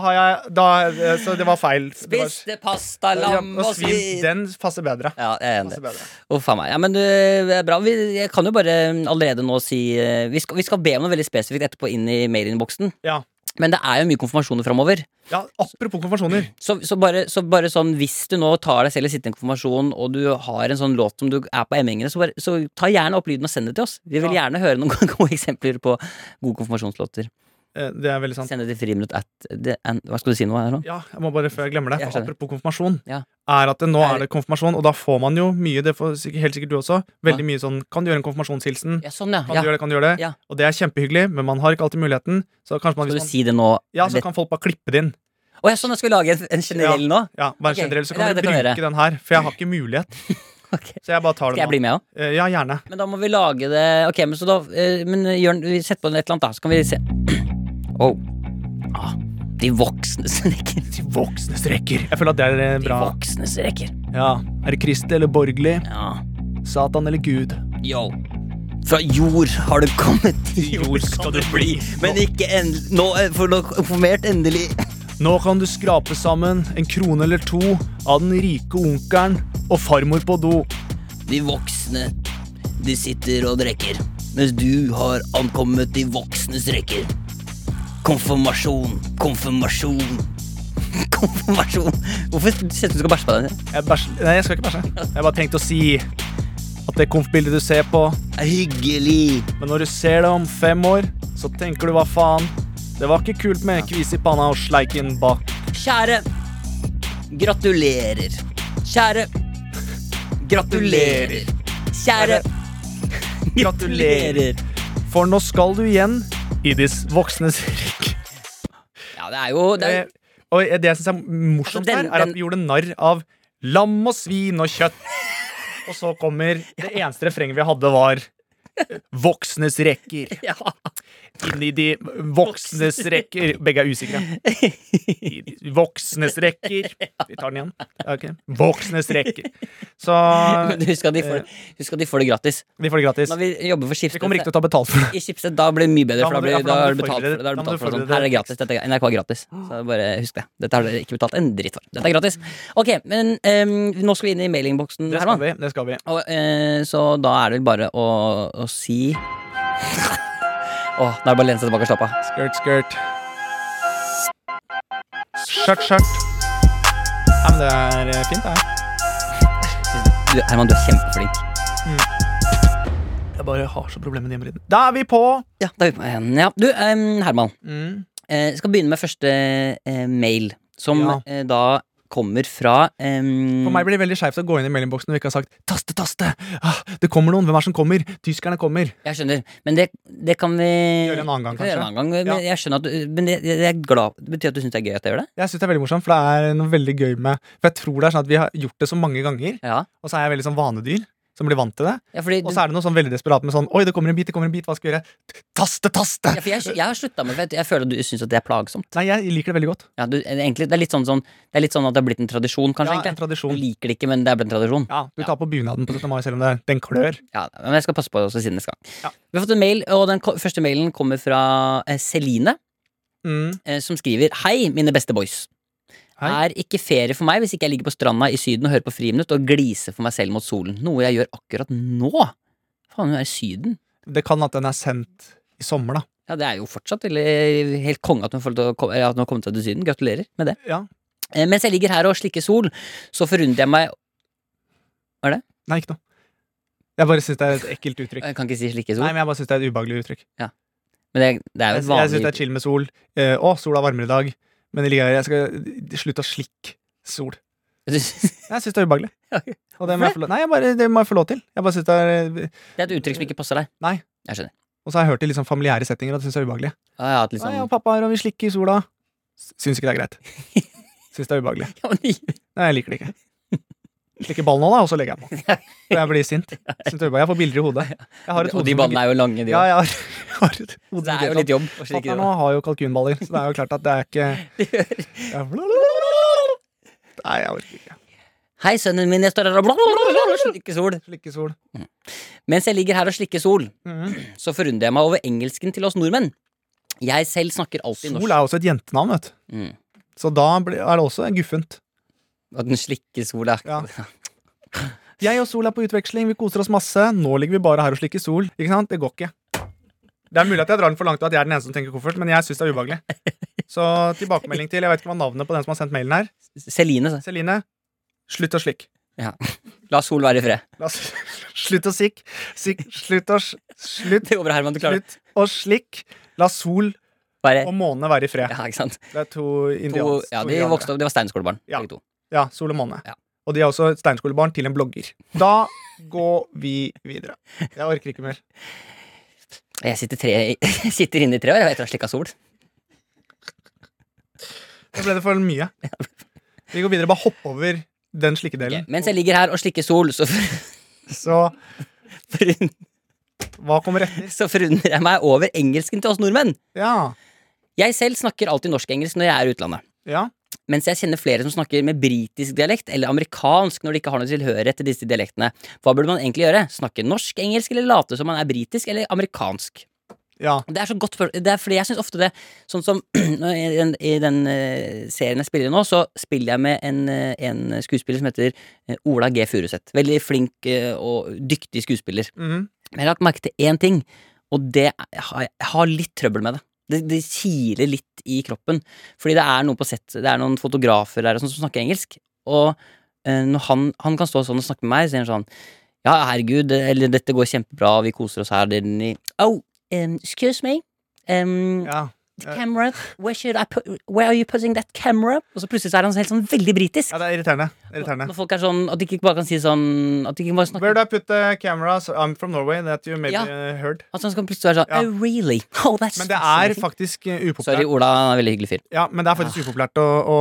S3: har jeg da, eh, Så det var feil. Det var,
S2: Spiste pasta,
S3: ja,
S2: lam og
S3: og svin.
S2: svin.
S3: Den passer bedre.
S2: Ja, jeg er enig.
S3: Passer bedre.
S2: Å, faen meg. Ja, men eh, det er bra. Vi, jeg kan jo bare mm, allerede nå si eh, vi skal, vi skal be om noe veldig spesifikt etterpå inn i mailinnboksen.
S3: Ja.
S2: Men det er jo mye konfirmasjoner framover.
S3: Ja, apropos konfirmasjoner.
S2: Så, så, bare, så bare sånn, hvis du nå tar deg selv i sittende konfirmasjon, og du har en sånn låt som du er på emmingene, så, bare- så ta gjerne opp lyden og send det til oss. Vi vil gjerne høre noen gode eksempler på gode konfirmasjonslåter.
S3: Eh, Det er veldig sant.
S2: Send det til friminutt at the end. Hva skal du si nå? her nå?
S3: Ja, jeg må bare før jeg glemmer det.
S2: Jeg
S3: For
S2: skjønner.
S3: apropos konfirmasjon.
S2: Ja.
S3: Er at det, nå
S2: Er-
S3: er det konfirmasjon, og da får man jo mye, det får sikkert, helt sikkert du også,
S2: Ja.
S3: veldig mye sånn Kan du gjøre en konfirmasjonshilsen?
S2: Ja, sånn, ja.
S3: Kan
S2: ja.
S3: du gjøre det, kan du gjøre det?
S2: Ja.
S3: Og det er kjempehyggelig, men man har ikke alltid muligheten. Så kanskje man,
S2: Skal
S3: hvis
S2: du
S3: man
S2: si det nå?
S3: ja, så
S2: Lett-
S3: kan folk bare klippe det inn.
S2: Å ja, sånn, jeg skal lage en, en generell nå?
S3: Ja, bare
S2: Ok,
S3: generelt, Så
S2: ja,
S3: kan du
S2: det kan jeg
S3: bruke
S2: gjøre.
S3: den her, for jeg har ikke mulighet.
S2: Ok.
S3: Så jeg bare tar
S2: Skal jeg
S3: den
S2: bli
S3: nå.
S2: med òg?
S3: Eh, Ja, gjerne.
S2: Men da må vi lage det Ok, men så da eh, Men Jørn, vi setter på et eller annet, da. Så kan vi se Wow. Ah, de voksnes rekker.
S3: De voksnes rekker. Jeg føler at det er eh,
S2: De
S3: bra.
S2: voksnes rekker.
S3: Ja. Er det Kristi eller borgerlig?
S2: Ja.
S3: Satan eller Gud?
S2: Yo. Fra jord har du kommet, til jord skal du bli. Men ikke endelig Nå er for nå konfirmert endelig.
S3: Nå kan du skrape sammen en krone eller to av den rike onkelen og farmor på do.
S2: De voksne, de sitter og drikker. Mens du har ankommet de voksnes rekker. Konfirmasjon, konfirmasjon, konfirmasjon. Hvorfor ser det ut som du skal bæsje på deg?
S3: Jeg bæsj... Nei, jeg skal ikke bæsje. Jeg bare tenkte å si at det konfbildet du ser på,
S2: Det er hyggelig.
S3: men når du ser det om fem år, så tenker du hva faen. Det var ikke kult med kvis i panna og sleiken bak.
S2: Kjære, gratulerer. Kjære, gratulerer. Kjære, gratulerer.
S3: For nå skal du igjen i de voksnes rike.
S2: Ja, det er jo det er,
S3: Eh, Og det jeg syns er
S2: Altså,
S3: morsomt
S2: den-
S3: her, er at
S2: den-
S3: vi gjorde narr av lam og svin og kjøtt. Og så kommer Det eneste refrenget vi hadde, var Voksnes rekker.
S2: ja.
S3: Inn i de voksnes rekker. Begge er usikre. I de voksnes rekker. Vi tar den igjen. Ja, ok. Voksnes rekker. Så Eh,
S2: Men husk at, de får, husk at de får det gratis.
S3: de får det gratis.
S2: Når vi jobber for
S3: Vi
S2: Schibsted
S3: kommer ikke til å ta betalt for det.
S2: I Schibsted da blir det mye bedre,
S3: Da
S2: for da
S3: må du-
S2: blir
S3: ja, for da
S2: da
S3: må
S2: er det
S3: du
S2: betalt for da er det
S3: forberede- da må du
S2: betalt for det. Sånn.
S3: forberede
S2: Her er det
S3: tekst.
S2: gratis. Dette er, NRK er gratis. Så bare husk det. Dette har dere ikke betalt en dritt for. Dette er gratis. Ok, men em, nå skal vi inn i mailingboksen,
S3: Det skal
S2: Herman.
S3: vi. Det skal vi.
S2: Og, eh, så da er det vel bare å, å si Åh, Da er det bare å lene seg tilbake og slappe av.
S3: Skirt, skirt. Skjørt, skjørt. Ja, men det er eh, fint, det her.
S2: Du, Herman, du er kjempeflink.
S3: Jeg bare har så problemer med hjemmeriden. Da er vi på!
S2: Ja, da er vi på en. Ja, du, em, Herman.
S3: Mm.
S2: Eh, skal begynne med første eh, mail, som
S3: Ja.
S2: eh, da kommer fra em,
S3: For meg blir det veldig skeivt å gå inn i meldingboksen når vi ikke har sagt 'taste, taste'. Ah, det kommer noen. Hvem er det som kommer? Tyskerne kommer.
S2: Jeg skjønner, men det, det kan vi
S3: Gjøre en annen gang,
S2: Det kan vi gjøre
S3: kanskje.
S2: en annen gang, men jeg skjønner at du, men jeg, jeg er glad Det betyr at du syns det er gøy at jeg gjør det?
S3: Jeg synes det er veldig morsomt, for det er noe veldig gøy med For jeg tror det er sånn at vi har gjort det så mange ganger,
S2: Ja,
S3: og så er jeg veldig sånn vanedyr. Som blir vant til det.
S2: ja fordi
S3: Og
S2: du,
S3: så
S2: ja,
S3: er det noe sånn veldig desperat med sånn Oi, det kommer en bit, det kommer en bit, hva skal vi gjøre? Taste, taste!
S2: for jeg, jeg har slutta med det, for jeg- jeg føler at du syns at det er plagsomt.
S3: Nei, jeg liker det veldig godt.
S2: Ja, du, egentlig, det, er litt sånn, sånn, det er litt sånn at det har blitt en tradisjon, kanskje.
S3: Ja, en
S2: egentlig. Du
S3: tradisjon.
S2: liker det ikke, men det er blitt en tradisjon.
S3: Ja, Du tar på bunaden på 17. mai selv om det, den klør.
S2: Ja, men jeg skal passe på det også siden neste gang.
S3: Ja.
S2: Vi har fått en mail, og den ko- første mailen kommer fra eh, Celine,
S3: Mm.
S2: eh, som skriver Hei, mine beste boys.
S3: Hei.
S2: er ikke ferie for meg hvis ikke jeg ligger på stranda i Syden og hører på Friminutt og gliser for meg selv mot solen. Noe jeg gjør akkurat nå. Faen, hun er i Syden.
S3: Det kan at den er sendt i sommer, da.
S2: Ja, Det er jo fortsatt veldig helt konge at hun har fått å ko- at hun har kommet seg til Syden. Gratulerer med det.
S3: Ja.
S2: Eh, Mens jeg ligger her og slikker sol, så forundrer jeg meg
S3: Nei, ikke noe. Jeg bare syns det er et ekkelt uttrykk.
S2: Jeg kan ikke si slikke
S3: Nei,
S2: sol,
S3: men jeg bare syns det er et ubehagelig uttrykk.
S2: men det, det er jo et
S3: Jeg, jeg syns det
S2: vanlig
S3: er chill med sol. Eh, å, sola er varmere i dag. Men det ligger her, jeg skal eh, slutte å slikke sol.
S2: Det
S3: Jeg syns det er ubehagelig.
S2: Ja, ok.
S3: Og det må jeg få lov, nei, jeg bare, det må jeg få lov til. Jeg bare synes det er
S2: er et uttrykk som ikke passer deg.
S3: Nei.
S2: Jeg skjønner.
S3: Og så har jeg hørt det i liksom familiære settinger, og det syns jeg er ubehagelig.
S2: Ja, jeg har hatt litt
S3: Nei, jeg
S2: sånn
S3: og pappa her, og vi slikker i sola. Syns ikke det er greit. Syns det er ubehagelig.
S2: Ja, men
S3: Nei, jeg liker det ikke. Slikker ballen nå, da, og så legger jeg på. Og jeg blir sint. Syns det er ubehagelig. Jeg får bilder i hodet. Jeg har et
S2: Og
S3: hode
S2: de
S3: som-
S2: badene er jo lange, de
S3: Ja,
S2: òg.
S3: jeg har, har et hode
S2: Det er
S3: som
S2: jo
S3: greit.
S2: litt jobb å slikke
S3: Fatter'n nå har jo kalkunballer, så det er jo klart at det er ikke
S2: det.
S3: Ja, blablabla. Nei, jeg orker ikke.
S2: Hei, sønnen min, jeg står her og slikker sol.
S3: Slikke sol.
S2: Mens jeg ligger her og slikker sol,
S3: Mhm.
S2: så forundrer jeg meg over engelsken til oss nordmenn. Jeg selv snakker alltid
S3: Sol
S2: norsk.
S3: er også et jentenavn, vet du.
S2: Mm.
S3: Så da blir- er det også guffent.
S2: At den slikker sol er
S3: Ja. Jeg og Sol er på utveksling, vi koser oss masse. Nå ligger vi bare her og slikker sol. Ikke sant? Det går ikke. Det er mulig at jeg drar den for langt, og at jeg er den eneste som tenker koffert, men jeg syns det er ubehagelig. Så tilbakemelding til Jeg vet ikke hva navnet på den som har sendt mailen her.
S2: Celine, sa-
S3: Celine, slutt å slikke.
S2: la sol være i fred.
S3: La oss- Slutt å sikk. Sikk. Slutt å s- Slutt.
S2: Det går bra, Herman. Du klarer det.
S3: Slutt å slikk. La sol
S2: Bare
S3: og måne være i fred.
S2: Ja, ikke sant?
S3: Det er to
S2: To,
S3: indians.
S2: ja,
S3: to
S2: de
S3: indianere.
S2: vokste opp, det var steinskolebarn.
S3: altså. Ja.
S2: begge to.
S3: Ja, Sol og måne.
S2: Ja.
S3: Og de er også et steinskolebarn til en blogger. Da går vi videre. Jeg orker ikke mer.
S2: Jeg sitter, tre, jeg sitter inne i tre år, jeg vet jeg har slikka sol.
S3: Da ble det for mye. Vi går videre. Bare hopp over den slikkedelen.
S2: Mens jeg ligger her og slikker sol, så, for,
S3: Så
S2: forund-
S3: hva kommer etter?
S2: så forundrer jeg meg over engelsken til oss nordmenn.
S3: Ja.
S2: Jeg selv snakker alltid norsk-engelsk når jeg er i utlandet.
S3: Ja.
S2: Mens jeg kjenner flere som snakker med britisk dialekt eller amerikansk når de ikke har noe tilhørighet til disse dialektene. Hva burde man egentlig gjøre? Snakke norsk, engelsk eller late som man er britisk eller amerikansk?
S3: Ja.
S2: Det er så godt for, det er fordi jeg syns ofte det Sånn som når jeg- i den, i den eh, serien jeg spiller i nå, så spiller jeg med en, eh, en skuespiller som heter eh, Ola G. Furuseth. Veldig flink eh, og dyktig skuespiller.
S3: Mhm.
S2: Men jeg har lagt merke til én ting, og det er- jeg har, jeg har litt trøbbel med det. Det, det kiler litt i kroppen. Fordi det er noe på sett Det er noen fotografer der og sånn som snakker engelsk. Og eh, når han, han kan stå sånn og snakke med meg, så sier han sånn Ja, herregud, eller dette går kjempebra, vi koser oss her. Det er den i- Oh, um, excuse me. Um,
S3: ja.
S2: the camera, where, should I put, where are you putting that camera? Og så plutselig så er han helt sånn veldig britisk.
S3: Ja, det er irriterende. Det er
S2: Når
S3: irriterende.
S2: folk er sånn At de ikke bare kan si sånn At de ikke bare
S3: Where
S2: snakker
S3: do I put the camera? So I'm from Norway. That you maybe
S2: Ja.
S3: uh, heard.
S2: At han skal plutselig være sånn
S3: Ja.
S2: Oh, really? Oh, that's
S3: Men det er
S2: fascinating."
S3: faktisk uh,
S2: Sorry,
S3: upopulært.
S2: Ola han er veldig hyggelig fyr.
S3: Ja, men det er faktisk upopulært å, å,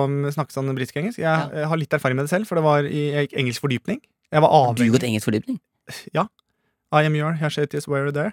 S3: å snakke sånn britisk-engelsk. Jeg
S2: Ja.
S3: eh, har litt erfaring med det selv, for det var i jeg gikk engelsk fordypning. Jeg var
S2: Har du
S3: avhengig
S2: gått engelsk fordypning?
S3: I am your Hashetius where there.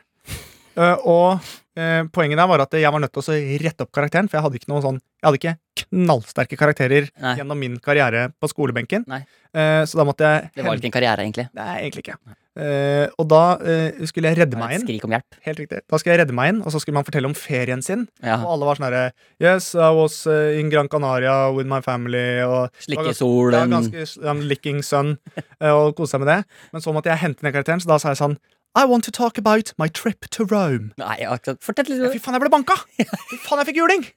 S3: Eh, og eh, poenget der var at jeg var nødt til å så rette opp karakteren, for jeg hadde ikke noe sånn Jeg hadde ikke knallsterke karakterer
S2: Nei.
S3: gjennom min karriere på skolebenken.
S2: Nei.
S3: Eh, så da måtte jeg
S2: Det var ikke en karriere, egentlig.
S3: Nei, egentlig ikke. Eh, og da eh, skulle jeg
S2: Det
S3: redde
S2: var
S3: meg
S2: et
S3: inn.
S2: skrik om hjelp.
S3: Helt riktig. Da skulle jeg redde meg inn, og så skulle man fortelle om ferien sin.
S2: Ja.
S3: Og alle var sånn herre Yes, I was eh, in Gran Canaria with my family. Og
S2: Slikke
S3: ganske- det var
S2: solen
S3: ganske um, licking sun eh, og kose seg med det. Men så måtte jeg hente ned karakteren, så da sa jeg sånn I want to talk about my trip to Rome.
S2: Nei, jeg har ikke sagt Fortell
S3: Ja,
S2: litt.
S3: fy faen, jeg ble banka! Fy faen, jeg fikk juling!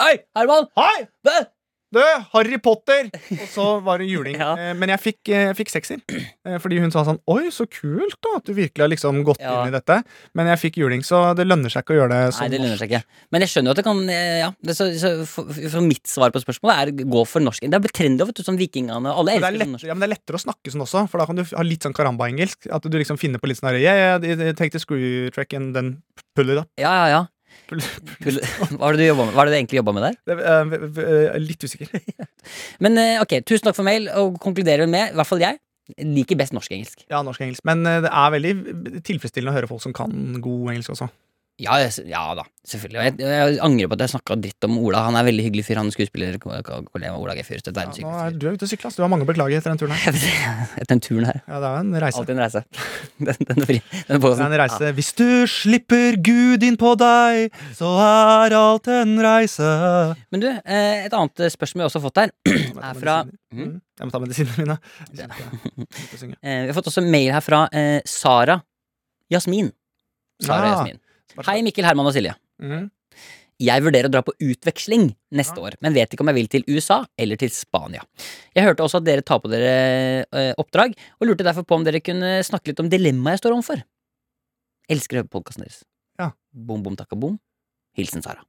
S2: Hei, Herman!
S3: Hei!
S2: Bø!
S3: Du, Harry Potter! Og så var det juling.
S2: Ja.
S3: Eh, Men jeg fikk, eh, jeg fikk sekser. Eh, Fordi hun sa sånn Oi, så kult da at du virkelig har liksom gått
S2: Ja.
S3: inn i dette. Men jeg fikk juling, så det lønner seg ikke å gjøre det
S2: Nei,
S3: sånn.
S2: det lønner seg ikke. Men jeg skjønner jo at det kan eh, Ja, det, så, så, for, for mitt svar på spørsmålet er gå for norsk. Det er blitt trendy, vet du, som vikingene. og Alle
S3: Men det, er
S2: elsker sånn
S3: lett,
S2: norsk.
S3: ja, men det er lettere å snakke sånn også, for da kan du f- ha litt sånn karamba-engelsk. At du liksom finner på litt sånn herre yeah, yeah, Take the screw track and then pull it up.
S2: Ja, ja, ja.
S3: Pull,
S2: Pull- Hva er det du, jobba med? Hva er det du egentlig jobba med der?
S3: Det, eh, v- v- eh, litt usikker.
S2: Men eh, ok, tusen takk for mail, og konkluderer med, i hvert fall jeg, liker best norsk-engelsk.
S3: Ja, norsk-engelsk. Men eh, det er veldig tilfredsstillende å høre folk som kan god engelsk også.
S2: Ja, jeg, ja da, selvfølgelig. Og Jeg, jeg angrer på at jeg snakka dritt om Ola. Han er veldig hyggelig fyr. Han er skuespiller. ko- ko- kollega Ola G. Fyrstedt.
S3: Ja,
S2: Verdens
S3: nå er,
S2: hyggeligste fyr.
S3: du er ute og sykler, ass. Du har mange å beklage etter den turen her.
S2: Etter den turen her.
S3: Ja, det er en reise.
S2: Alltid en reise. Den, den, fri, den
S3: Det er
S2: posen.
S3: en reise. Hvis du slipper Gud inn på deg, så er alt en reise.
S2: Ja. Men du, eh, et annet spørsmål vi også har fått her, er fra
S3: Mm.
S2: Mm.
S3: Jeg må ta medisinene mine. Jeg kjente jeg begynte å synge.
S2: eh, Vi har fått også mail her fra eh, Sara Jasmin. Sara
S3: Ah,
S2: Jasmin. Hei, Mikkel, Herman og Silje.
S3: Mm.
S2: Jeg vurderer å dra på utveksling neste
S3: Ja.
S2: år, men vet ikke om jeg vil til USA eller til Spania. Jeg hørte også at dere tar på dere eh, oppdrag, og lurte derfor på om dere kunne snakke litt om dilemmaet jeg står overfor. Elsker å høre på podkasten deres.
S3: Ja.
S2: Bom, bom, takka, bom. Hilsen Sara.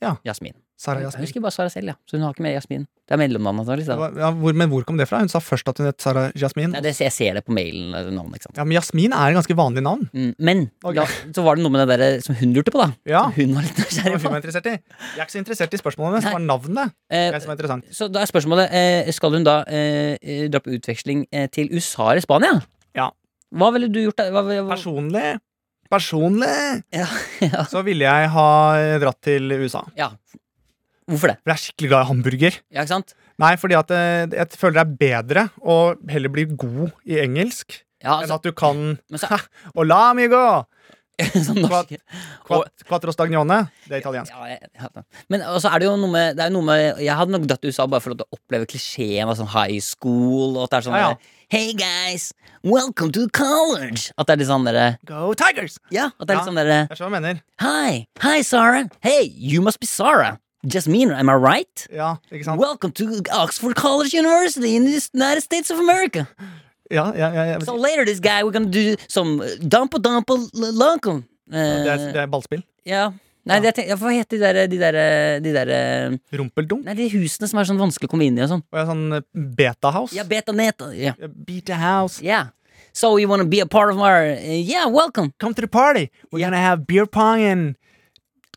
S3: Ja.
S2: Jasmin.
S3: Sara
S2: Jeg
S3: Jasmin.
S2: husker bare Sara selv, ja. Så hun har ikke med Jasmin. Det er mellomnavnet hennes.
S3: Det
S2: da.
S3: var- Ja, hvor, men hvor kom det fra? Hun sa først at hun het Sara Jasmin.
S2: Nei, det- Jeg ser det på mailen. eh, Navnet, ikke sant?
S3: Ja, men Jasmin er et ganske vanlig navn.
S2: Mm, Men
S3: Ok.
S2: da, så var det noe med det der eh, som hun lurte på, da.
S3: Ja,
S2: Som Hun var litt
S3: det var
S2: nysgjerrig
S3: hun
S2: på.
S3: var interessert i. Jeg er ikke så interessert i spørsmålene, det var navnet
S2: Eh,
S3: det som var interessant.
S2: Så da er spørsmålet eh, Skal hun da eh, eh, dra på utveksling eh, til USA eller Spania?
S3: Ja.
S2: Hva ville du gjort da? Hva, hva, hva?
S3: Personlig Personlig
S2: Ja, ja.
S3: så ville jeg ha dratt til USA.
S2: ja. Hvorfor det?
S3: For jeg er skikkelig glad i hamburger.
S2: Ja, ikke sant?
S3: Nei, fordi at eh, jeg føler det er bedre å heller bli god i engelsk
S2: Ja,
S3: enn
S2: altså,
S3: at du kan
S2: men så-
S3: ha, Hola, amigo!
S2: som norsk Og-
S3: Quat, quattro stagnone. Det er italiensk.
S2: ja, jeg- ja, da. Men også er det jo noe med, det er jo noe med Jeg hadde nok dratt til USA bare for å oppleve klisjeen av sånn high school. Og at det er sånn
S3: Ja, ja.
S2: der, Hey guys, welcome to college! At det er litt sånn derre
S3: Go Tigers!
S2: Ja, at det er
S3: Ja.
S2: litt sånn derre
S3: Jeg skjønner hva du mener.
S2: Hi, hi Sara. Hey, you must be Sara. Jasmine, am I right?
S3: Ja, ikke sant?
S2: Welcome to Oxford College University in the United States of America.
S3: Ja, ja, ja, ja.
S2: So later, this guy, we're gonna do some uh, dumpa dumpa l- lunkum.
S3: Det, er,
S2: Uh,
S3: det er ballspill.
S2: ja. Nei,
S3: Oh, Ja.
S2: det, jeg tenker- hva heter de der, de der, eh, de der eh,
S3: Rumpeldunk.
S2: Nei, de husene som er sånn vanskelig å komme inn i og sånn.
S3: Og jeg er sånn eh, betahouse.
S2: Ja, betaneta. Ja.
S3: Beta house.
S2: Yeah. So you wanna be a part of our uh, Yeah, welcome.
S3: Come to the party. We're gonna have beer pong and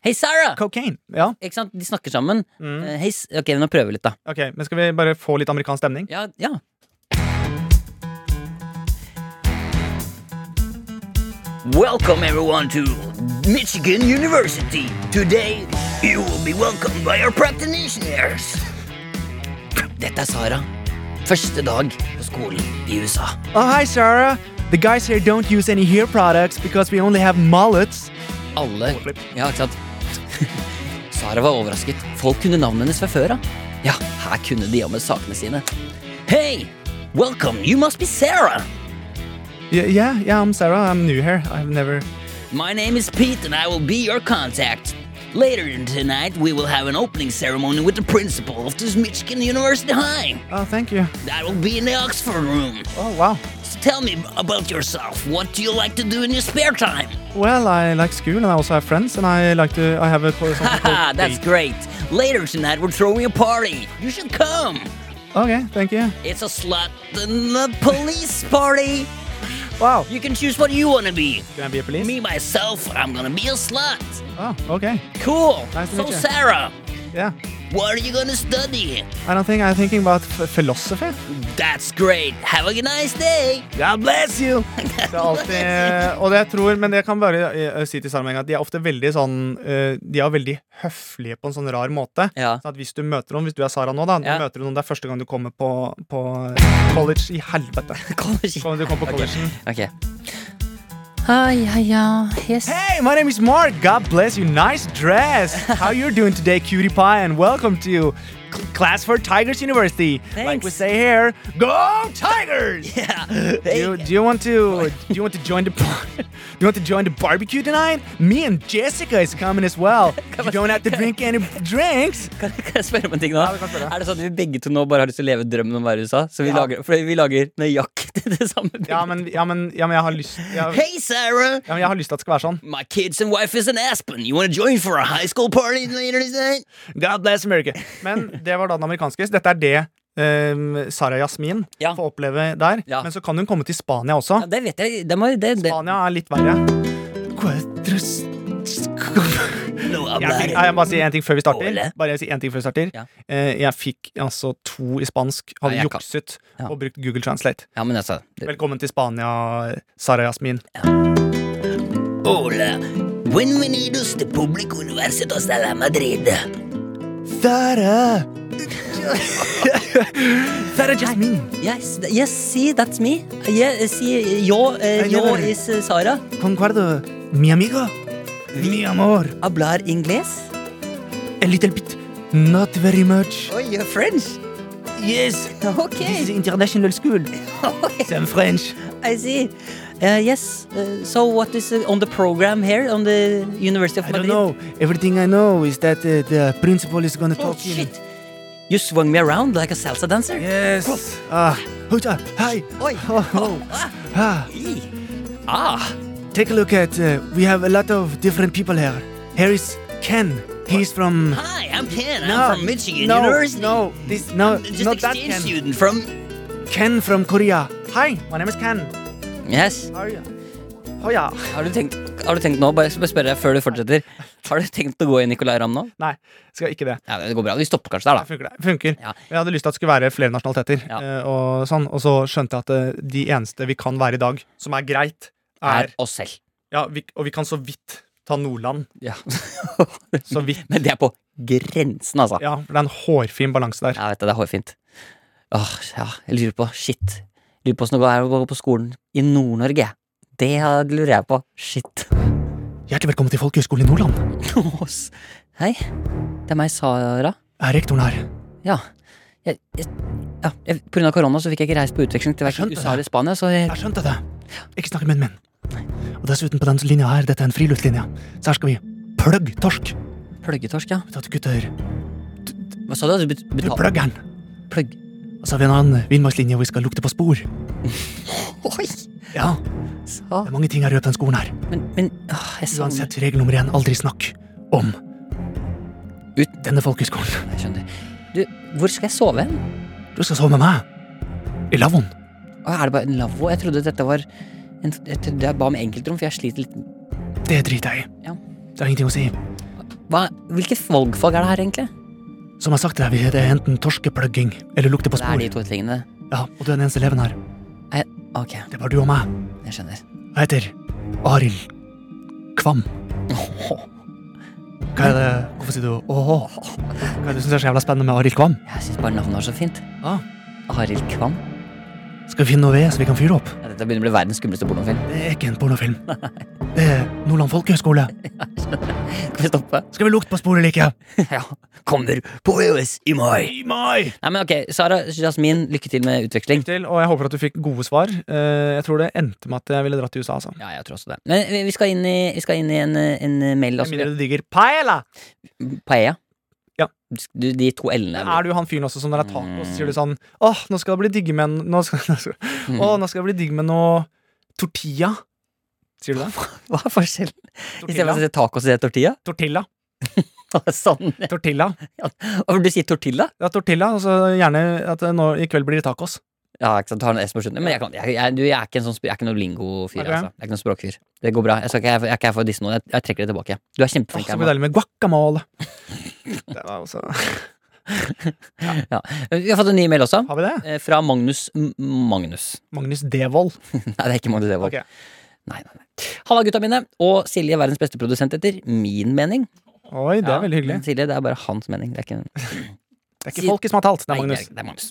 S2: Hey, Sarah!
S3: cocaine. Ja,
S2: Ikke sant? De snakker sammen.
S3: Mm.
S2: Eh, hei, s- ok, nå prøver vi litt, da.
S3: ok, men Skal vi bare få litt amerikansk stemning?
S2: Ja, ja. Welcome everyone to Michigan University. Today you will be welcomed by our practitioners. Dette er Sara. Første dag på skolen i USA.
S3: Oh, hi, Sarah. The guys here don't use any hair products because we only have mullets.
S2: Alle Ja, ikke sant? Sara var overrasket. Folk kunne navnet hennes fra før av. Ja, her kunne de jammen sakene sine. Hey! Welcome! You must be Sarah!
S3: Yeah, yeah, yeah, I'm Sarah. I'm new here. I've never.
S2: My name is Pete, and I will be your contact. Later in tonight, we will have an opening ceremony with the principal of this Michigan University High.
S3: Oh, thank you.
S2: That will be in the Oxford room.
S3: Oh, wow.
S2: So tell me about yourself. What do you like to do in your spare time?
S3: Well, I like school and I also have friends and I like to. I have a co- something
S2: Haha,
S3: called
S2: that's
S3: date.
S2: great. Later tonight, we're throwing a party. You should come.
S3: Okay, thank you.
S2: It's a slut and a police party.
S3: Wow.
S2: You can choose what you want to be.
S3: Can I be a police?
S2: Me, myself, I'm gonna be a slut.
S3: Oh, okay.
S2: Cool.
S3: Nice to
S2: so,
S3: meet you.
S2: Sarah,
S3: Yeah.
S2: what are you gonna study?
S3: I don't think I'm thinking about f- philosophy.
S2: That's great. Have a nice day. God bless you.
S3: Det er alltid, og det jeg tror, men det jeg kan bare eh, si til Sara med en gang, at de er ofte veldig sånn eh, De er veldig høflige på en sånn rar måte.
S2: Ja.
S3: Sånn at hvis du møter noen, hvis du er Sara nå, da, du
S2: Ja.
S3: møter noen, det er første gang du kommer på, på college i helvete. Kommer du kommer på college.
S2: Ok. Hi, hi, ja. Yes.
S3: Hey, my name is Mark. God bless you. Nice dress. How you doing today, cutie pie? And welcome to cl- class for Tigers University. Like we
S2: Thanks.
S3: say here, go Tigers!
S2: Yeah.
S3: Do, you, do you want to do you want to join the bar- do you want to join the barbecue tonight? Me and Jessica is coming as well. You don't have to drink any drinks.
S2: Kan, kan jeg spørre om en ting nå?
S3: Ja, du kan spørre.
S2: er det sånn at vi begge to nå bare har lyst til å leve drømmen om å være i USA? Så vi, lager, for vi lager nøyaktig det samme bildet.
S3: Ja, men, ja, men, ja, men jeg har lyst jeg,
S2: Hey, Sarah!
S3: ja, men jeg har lyst til at det skal være sånn.
S2: My kids and wife is in Aspen. You want to join for a high school party later tonight?
S3: God bless America. Men det var da den amerikanske. Dette er det eh, Sara Jasmin
S2: Ja.
S3: får oppleve der.
S2: Ja.
S3: Men så kan hun komme til Spania også.
S2: Ja, det vet jeg. Det må, det, det.
S3: Spania er litt verre. Jeg,
S2: No,
S3: fikk, jeg må bare si én ting før vi starter.
S2: Ole.
S3: Bare si en ting før vi starter
S2: Ja.
S3: Eh, Jeg fikk altså to i spansk,
S2: Nei,
S3: hadde
S2: jeg kan-
S3: jukset
S2: Ja.
S3: og brukt Google Translate.
S2: ja, men altså det-
S3: Velkommen til Spania, Sara Jasmin.
S2: Hola,
S4: Bienvenidos de Public Universitas de la Madrid.
S3: Sara! Sara Jasmine!
S4: Yes, th- yes, see, that's me.
S2: Uh,
S4: Yes, see, yo, eh,
S3: I
S4: yo
S3: never-
S4: is eh, Sara.
S3: Concuerdo, mi amigo. Mi amor.
S4: Hablar inglés.
S3: A little bit. Not very much.
S4: Oh, you're French.
S3: Yes,
S4: Okay,
S3: international school. Some French.
S4: I see. Uh, yes, uh, so what is uh, on the program here on the University of
S3: I
S4: Madrid?
S3: don't know. Everything I know is that uh, the principal is gonna
S4: Oh,
S3: talk in.
S4: shit. You swung me around like a salsa dancer.
S3: Yes. Ah, hold up. Hi.
S4: Oi.
S3: Oh, oh. Ah,
S4: Ee. Ah,
S3: take a look at. Uh, we have a lot of different people here. Here is Ken. He's from.
S4: hi, I'm Ken.
S3: No,
S4: I'm from Michigan
S3: no,
S4: University.
S3: No, this no,
S4: Just
S3: not that
S4: exchange
S3: Ken.
S4: student from.
S3: Ken from Korea. Hi, my name is Ken.
S4: Yes.
S3: How are you? Oh ja.
S4: Har du tenkt, har du tenkt nå, bare bare spørre deg før du fortsetter, har du tenkt å gå i Nicolai Ramm nå?
S3: Nei, skal ikke det.
S4: Ja, det går bra. Vi stopper kanskje der,
S3: Det funker. det funker.
S4: Ja.
S3: Jeg hadde lyst til at det skulle være flere nasjonaliteter,
S4: Ja.
S3: eh, og sånn, og så skjønte jeg at eh, de eneste vi kan være i dag, som er greit,
S4: da.
S3: er
S4: Er oss selv.
S3: Ja, vi, og vi kan så vidt ta Nordland.
S4: Ja.
S3: Så vidt.
S4: Men det er på grensen, altså.
S3: Ja, for det er en hårfin balanse der.
S4: Jeg vet det, det er hårfint. Åh, ja, jeg lurer på, shit. Lurer på hvordan det går å gå på skolen i Nord-Norge. Det lurer jeg på. Shit.
S3: Hjertelig velkommen til Folkehøgskolen i Nordland.
S4: Ås. Hei, det er meg, Sara.
S3: Er rektoren her?
S4: Ja. Jeg, jeg, ja. Jeg, på grunn av korona så fikk jeg ikke reist på utveksling til
S3: Jeg
S4: hverken
S3: skjønte
S4: USA
S3: det.
S4: eller Spania, så jeg,
S3: Jeg skjønte det. Ikke snakke med en min. Og dessuten, på den linja her, dette er en friluftslinje, så her skal vi pløgg torsk.
S4: pløggetorsk, ja.
S3: Vet du, gutter,
S4: Hva sa du? Altså, bet-
S3: du
S4: betal-
S3: pløgger den.
S4: Pløgg.
S3: Og så har vi en annen villmarkslinje hvor vi skal lukte på spor.
S4: Oi!
S3: Ja,
S4: Sa.
S3: det er mange ting jeg røper den skolen her.
S4: Men, men åh, jeg savner
S3: Uansett, regel nummer én, aldri snakk om
S4: Ut-
S3: denne folkehøgskolen.
S4: Jeg skjønner. Du, hvor skal jeg sove hen?
S3: Du skal sove med meg. I lavvoen.
S4: Å, Er det bare en lavvo? Jeg trodde dette var en, jeg, trodde jeg ba om enkeltrom, for jeg sliter litt
S3: Det driter jeg i.
S4: Ja.
S3: Det har ingenting å si.
S4: Hva, Hvilket valgfag er det her, egentlig?
S3: Som jeg har sagt til deg, det er enten torskepløgging eller lukte på
S4: Det er
S3: spor.
S4: de to tingene.
S3: Ja, og du er den eneste eleven her.
S4: Jeg, ok,
S3: Det er bare du og meg.
S4: jeg skjønner.
S3: Jeg heter Arild Kvam. Hva er det Hvorfor sier du åhå? Hva er det du syns er så jævla spennende med Arild Kvam?
S4: Jeg syns bare navnet var så fint.
S3: Ah.
S4: Arild Kvam.
S3: Skal vi finne noe ved så vi kan fyre opp?
S4: Ja, dette begynner å bli verdens skumleste pornofilm.
S3: Det er ikke en pornofilm. Det er Nordland folkehøgskole.
S4: Skal vi stoppe?
S3: Skal vi lukte på sporet eller ikke?
S4: ja. Kommer på EØS i mai.
S3: I mai!
S4: Nei, men ok, Sara Jasmin, lykke til med utveksling.
S3: Til, og jeg håper at du fikk gode svar. Eh, Jeg tror det endte med at jeg ville dratt til USA, altså.
S4: Ja, jeg tror også det. Men vi- vi skal inn i, vi skal inn i en, eh, en mail.
S3: Med mindre
S4: Altså.
S3: du digger paella!
S4: Paella.
S3: Ja.
S4: Du, de to L-ene. er vel-
S3: Er du han fyren også som når det er tacos, sier du sånn Åh, nå skal det bli digg med en- Nå skal, nå skal,
S4: Mm.
S3: åh, nå skal det bli digg med noe tortilla. Sier du det?
S4: Hva er forskjellen? Istedenfor å
S3: Tortilla.
S4: si tacos, sier jeg tortilla?
S3: Tortilla.
S4: sånn.
S3: Tortilla.
S4: Og du sier tortilla?
S3: Ja, tortilla, og så gjerne at det nå i kveld blir det tacos.
S4: Ja, ikke sant, du har en S på slutten. Men jeg, kan, jeg, jeg, du, jeg er ikke en sånn, sp- jeg er ikke noen lingo-fyr.
S3: Ok.
S4: Altså. Jeg er ikke noen språkfyr. Det går bra. Jeg, skal ikke, jeg, er ikke her for å disse noen. Jeg, jeg trekker det tilbake. Du er
S3: Åh,
S4: kjempeflink.
S3: så blir det
S4: Herman.
S3: deilig med guacamole. Det var også
S4: Vi har fått en ny mail også.
S3: Har vi det?
S4: eh, Fra Magnus M Magnus.
S3: Magnus Devold.
S4: Nei, det er ikke Magnus Devold.
S3: Ok.
S4: Nei, nei, nei. Halla, gutta mine. Og Silje, verdens beste produsent, etter min mening.
S3: Oi, det er
S4: Ja,
S3: veldig hyggelig.
S4: men Silje, det er bare hans mening. Det er ikke
S3: Det er ikke folket som har talt, det er
S4: Nei,
S3: Magnus.
S4: Det er Magnus.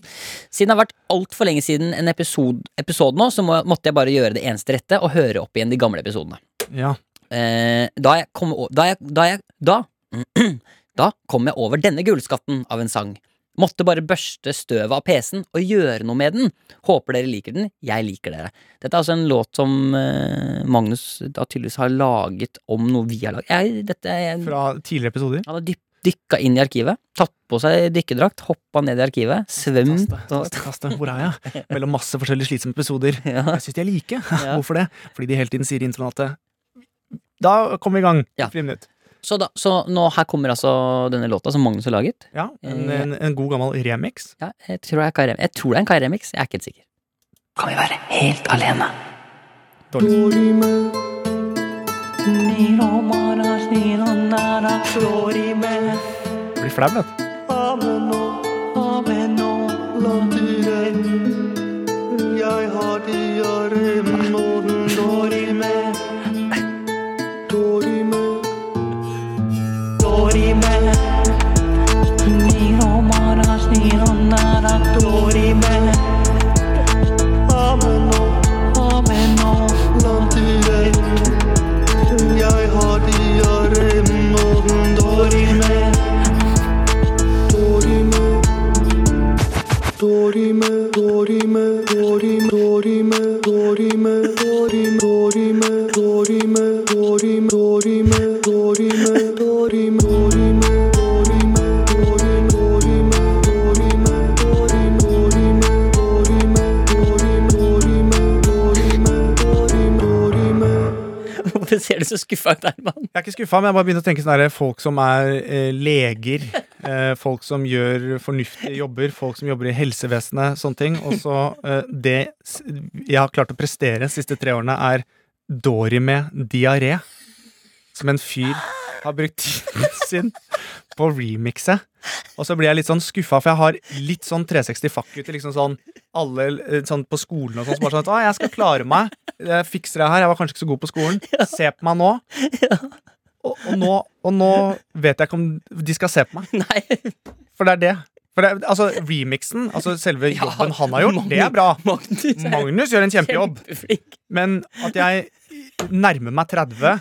S4: Siden det har vært altfor lenge siden en episode, episode nå, så må, måtte jeg bare gjøre det eneste rette og høre opp igjen de gamle episodene.
S3: Ja.
S4: Eh, da jeg kom o- Da jeg, da, jeg da, da kom jeg over denne gullskatten av en sang. Måtte bare børste støvet av PC-en og gjøre noe med den. Håper dere liker den. Jeg liker dere. Dette er altså en låt som eh, Magnus da tydeligvis har laget om noe vi har laget. Jeg, dette, er-
S3: Fra tidligere episoder.
S4: han har dyp, dykka inn i arkivet, tatt på seg dykkerdrakt, hoppa ned i arkivet, svømt
S3: Taste, taste, taste. Hvor er jeg? Mellom masse forskjellige slitsomme episoder.
S4: ja.
S3: Jeg syns de er like. Hvorfor det? Fordi de hele tiden sier i intronatet Da kommer vi i gang.
S4: Ja.
S3: Ja. Friminutt.
S4: Så, da, så nå, her kommer altså denne låta som Magnus har laget.
S3: Ja, en, en, en god gammel remix.
S4: Ja, jeg, tror det er Kai Rem- jeg tror det er en Kai Remix, jeg er ikke helt sikker. Kan vi være helt alene?
S3: Dårlig. Blir flau, vet du.
S4: Hvorfor ser du så skuffa ut, Herman?
S3: Jeg er ikke skuffa, men jeg bare begynte å tenke sånn der, folk som er eh, leger, eh, folk som gjør fornuftige jobber, folk som jobber i helsevesenet, sånne ting. Og så eh, det s- jeg har klart å prestere de siste tre årene, er Dory med diaré. Som en fyr har brukt tiden sin på å remixe. Og så blir jeg litt sånn skuffa, for jeg har litt sånn 360 fuck-gutter. Liksom sånn, alle eh, sånn på skolen og sånn som bare sånn at, Å, jeg skal klare meg. Jeg fikser det her. Jeg var kanskje ikke så god på skolen. Se på meg nå. Og, og, nå, og nå vet jeg ikke om de skal se på meg.
S4: Nei.
S3: For det er det. For det, er- altså, remixen, altså selve
S4: Ja,
S3: jobben han har gjort, det er bra.
S4: Magnus er
S3: Magnus gjør en kjempejobb.
S4: kjempeflink.
S3: Men at jeg nærmer meg 30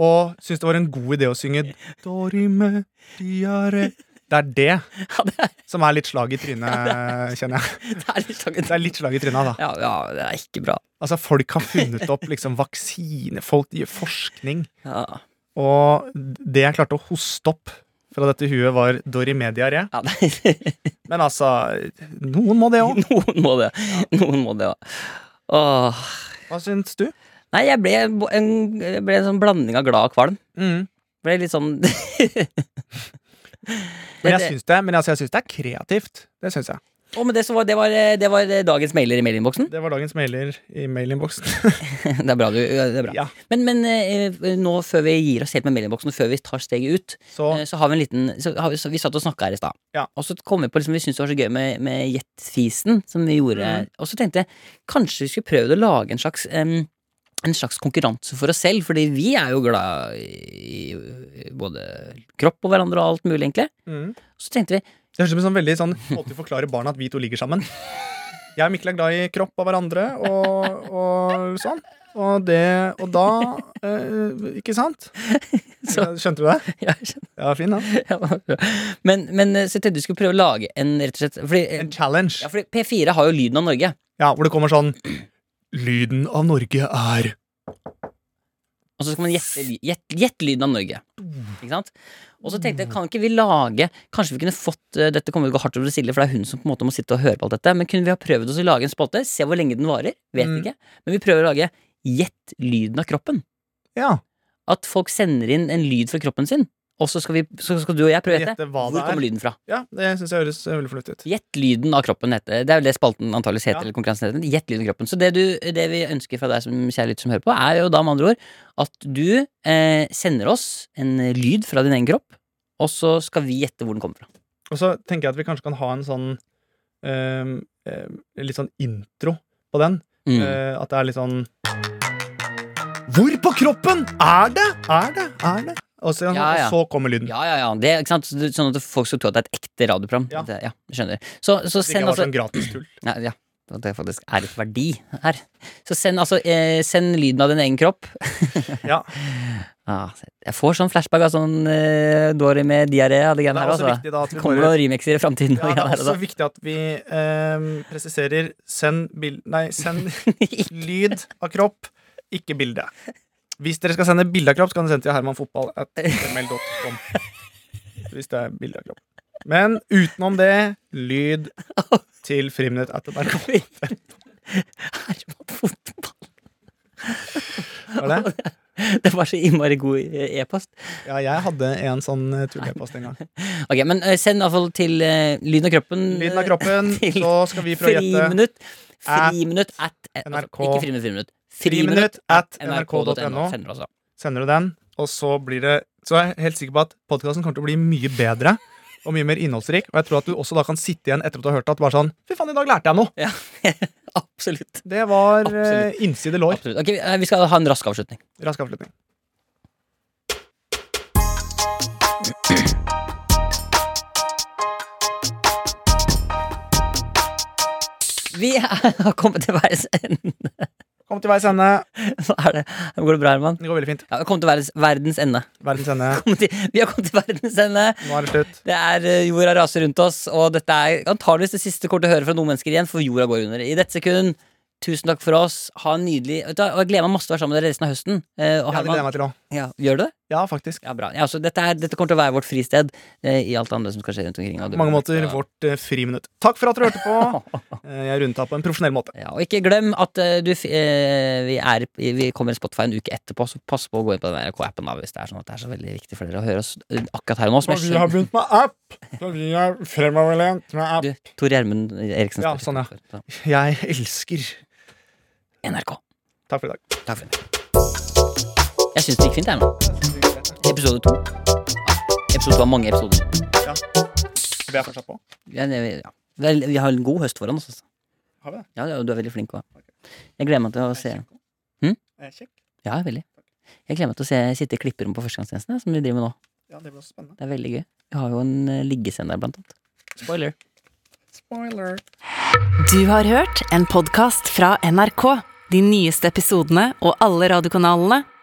S3: og syns det var en god idé å synge Dorime, diare. Det er det
S4: Ja, det er,
S3: som er litt slag i trynet, kjenner jeg.
S4: det er litt sånn-
S3: Det er litt slag i trynet, da.
S4: ja, ja, det er ikke bra.
S3: Altså, folk har funnet opp liksom vaksine, folk gjør forskning.
S4: Ja,
S3: Og det jeg klarte å hoste opp fra dette huet, var Dorimedia-re.
S4: ja det er
S3: Men altså, noen må det òg.
S4: Noen må det. Noen må det, ja. Åh.
S3: Hva syns du?
S4: Nei, jeg ble en, jeg ble en sånn blanding av glad og kvalm.
S3: Mm.
S4: Ble litt sånn
S3: Men jeg syns det, men altså, jeg syns det er kreativt. Det syns jeg.
S4: Å, men det, som var, det, var, det var eh, dagens mailer i mailinnboksen.
S3: Det var dagens mailer i mailinnboksen.
S4: Det er bra. Du, det er bra.
S3: Ja.
S4: Men, men eh, nå før vi gir oss helt med mailinnboksen, før vi tar steget ut,
S3: Så
S4: eh, så har vi en liten så har vi, så vi satt og snakka her i stad,
S3: Ja.
S4: og så kom vi på liksom, vi syntes det var så gøy med, med jetfisen som vi gjorde,
S3: Mhm.
S4: og så tenkte jeg kanskje vi skulle prøve å lage en slags em, en slags konkurranse for oss selv, fordi vi er jo glad i i både kropp og hverandre og alt mulig, egentlig.
S3: mm.
S4: Så tenkte vi
S3: Det høres ut som en sånn veldig sånn måte å forklare barna at vi to ligger sammen. Jeg og Mikkel er glad i kropp av hverandre og, og sånn. Og det Og da eh, Ikke sant? Eh,
S4: Så-
S3: Skjønte du det?
S4: ja, jeg skjønner.
S3: Ja, fin, da.
S4: Ja, bra. men, men eh, så jeg tenkte vi skulle prøve å lage en rett og slett fordi, eh,
S3: En challenge.
S4: ja, fordi P4 har jo lyden av Norge.
S3: Ja, hvor det kommer sånn Lyden av Norge er
S4: Og så skal man gjette ly- gjett- gjett lyden av Norge. Ikke sant? Og så tenkte jeg, kan ikke vi lage Kanskje vi kunne fått eh, Dette kommer til å gå hardt over til Silje, for det er hun som på en måte må sitte og høre på alt dette. Men kunne vi ha prøvd oss å lage en spalte? Se hvor lenge den varer. Vet
S3: Mm.
S4: ikke. Men vi prøver å lage Gjett lyden av kroppen.
S3: Ja.
S4: At folk sender inn en lyd fra kroppen sin, og så skal, vi, så skal du og jeg prøve å gjette.
S3: Gjette hva
S4: Hvor
S3: det
S4: kommer
S3: er.
S4: lyden fra?
S3: Ja, det syns jeg høres eh, veldig fornuftig ut.
S4: Gjett lyden av kroppen heter Det er vel det spalten antageligvis heter.
S3: Ja.
S4: Eller konkurransen heter Gjett lyden av kroppen Så det, du, det vi ønsker fra deg som kjære lytter som hører på, er jo da med andre ord at du eh, sender oss en lyd fra din egen kropp, og så skal vi gjette hvor den kommer fra.
S3: Og så tenker jeg at vi kanskje kan ha en sånn ehm, eh, Litt sånn intro på den.
S4: Mm.
S3: Eh, at det er litt sånn Hvor på kroppen er det? Er det? Er det? Og så,
S4: Ja, ja.
S3: og så kommer lyden.
S4: Ja, ja, ja. Det, ikke sant? Så det- Sånn at folk skal tro at det er et ekte radioprogram.
S3: Ja.
S4: Det, ja skjønner. Så, så
S3: Hvis ikke
S4: send
S3: jeg var
S4: altså
S3: sånn gratis tull.
S4: Nei, ja, at det faktisk er et verdi her. Så send, altså, eh, send lyden av din egen kropp.
S3: Ja.
S4: Ah, jeg får sånn flashback av sånn eh, Dory med diaré og de
S3: Det
S4: greiene
S3: er
S4: her.
S3: også
S4: Altså.
S3: viktig da at vi
S4: Kommer det
S3: bare
S4: noen remixer i framtiden?
S3: ja, det er også
S4: altså.
S3: viktig at vi ehm, presiserer send bil... Nei, send lyd av kropp, ikke bilde. Hvis dere skal sende bilde av kropp, så kan dere sende til hermanfotball.ml.com. Hvis det er bilde av kropp. Men utenom det, lyd til friminutt at NRK.
S4: Herman Fotball.
S3: Var det?
S4: Det var så innmari god eh, e-post.
S3: Ja, jeg hadde en sånn eh, tullepost en gang.
S4: Ok, Men eh, send iallfall til eh, Lyden av kroppen.
S3: Lyden av kroppen,
S4: Til
S3: så skal vi prøve å gjette.
S4: Friminutt. Friminutt at eh, altså,
S3: NRK.
S4: Ikke friminutt, friminutt.
S3: Friminutt at
S4: nrk.no.
S3: nrk.no.
S4: Sender du altså.
S3: Sender du den, og så blir det Så er jeg helt sikker på at podkasten kommer til å bli mye bedre. Og mye mer innholdsrik. Og jeg tror at du også da kan sitte igjen etter at du har hørt at bare sånn Fy faen, i dag lærte jeg noe!
S4: Absolutt.
S3: Det var eh,
S4: Absolutt.
S3: innside lår.
S4: Absolutt. Ok, eh, Vi skal ha en rask avslutning.
S3: Rask avslutning.
S4: Vi har kommet til veis ende.
S3: Kom til veis ende.
S4: Hva er det? Går det bra, Herman?
S3: Det går veldig fint.
S4: Ja, vi har kommet til verdens, verdens ende.
S3: Verdens ende.
S4: Kommet til- Vi har kommet til verdens ende.
S3: Nå er det slutt.
S4: Det er eh, Jorda raser rundt oss, og dette er antageligvis det siste kortet å høre fra noen mennesker igjen, for jorda går under. I dette sekund Tusen takk for oss. Ha en nydelig vet du, hva, og Jeg gleder meg masse til å være sammen med dere resten av høsten. Eh, og
S3: Ja, det
S4: Herman-
S3: gleder jeg meg til òg.
S4: ja, gjør du det?
S3: Ja, faktisk.
S4: Ja, bra. Ja, så dette, er, dette kommer til å være vårt fristed eh, i alt det andre som skal skje rundt omkring. og det
S3: På mange
S4: blir-
S3: måter
S4: ja.
S3: vårt eh, friminutt. Takk for at dere hørte på. Eh, Jeg runda på en profesjonell måte.
S4: Ja, og ikke glem at eh, du, f- eh, vi, er, vi kommer i Spotify en uke etterpå, så pass på å gå inn på den NRK-appen da, hvis det er sånn at det er så veldig viktig for dere å høre oss eh, akkurat her og nå. Som jeg skjønner-
S3: begynt med app! Så vi er fremoverlent med app.
S4: du, Tor Gjermund Eriksen.
S3: Ja, sånn,
S4: ja.
S3: Jeg elsker
S4: NRK.
S3: Takk for i dag.
S4: Takk for det. Jeg syns det gikk fint, jeg nå. Episode to. Episode to har mange episoder.
S3: Vi er fortsatt på.
S4: Ja, det- ja. Vel, vi har en god høst foran oss, altså.
S3: Har vi det?
S4: Ja, ja, du er veldig flink òg. Jeg gleder meg til å se Hm? Ja, veldig. Jeg gleder meg til å se, sitte i klipperommet på førstegangstjenesten, jeg, som vi driver med nå.
S3: Ja, det blir også spennende.
S4: Det er veldig gøy. Vi har jo en eh, liggescene der, blant annet. Spoiler.
S3: Spoiler.
S5: Du har hørt en podkast fra NRK. De nyeste episodene og alle radiokanalene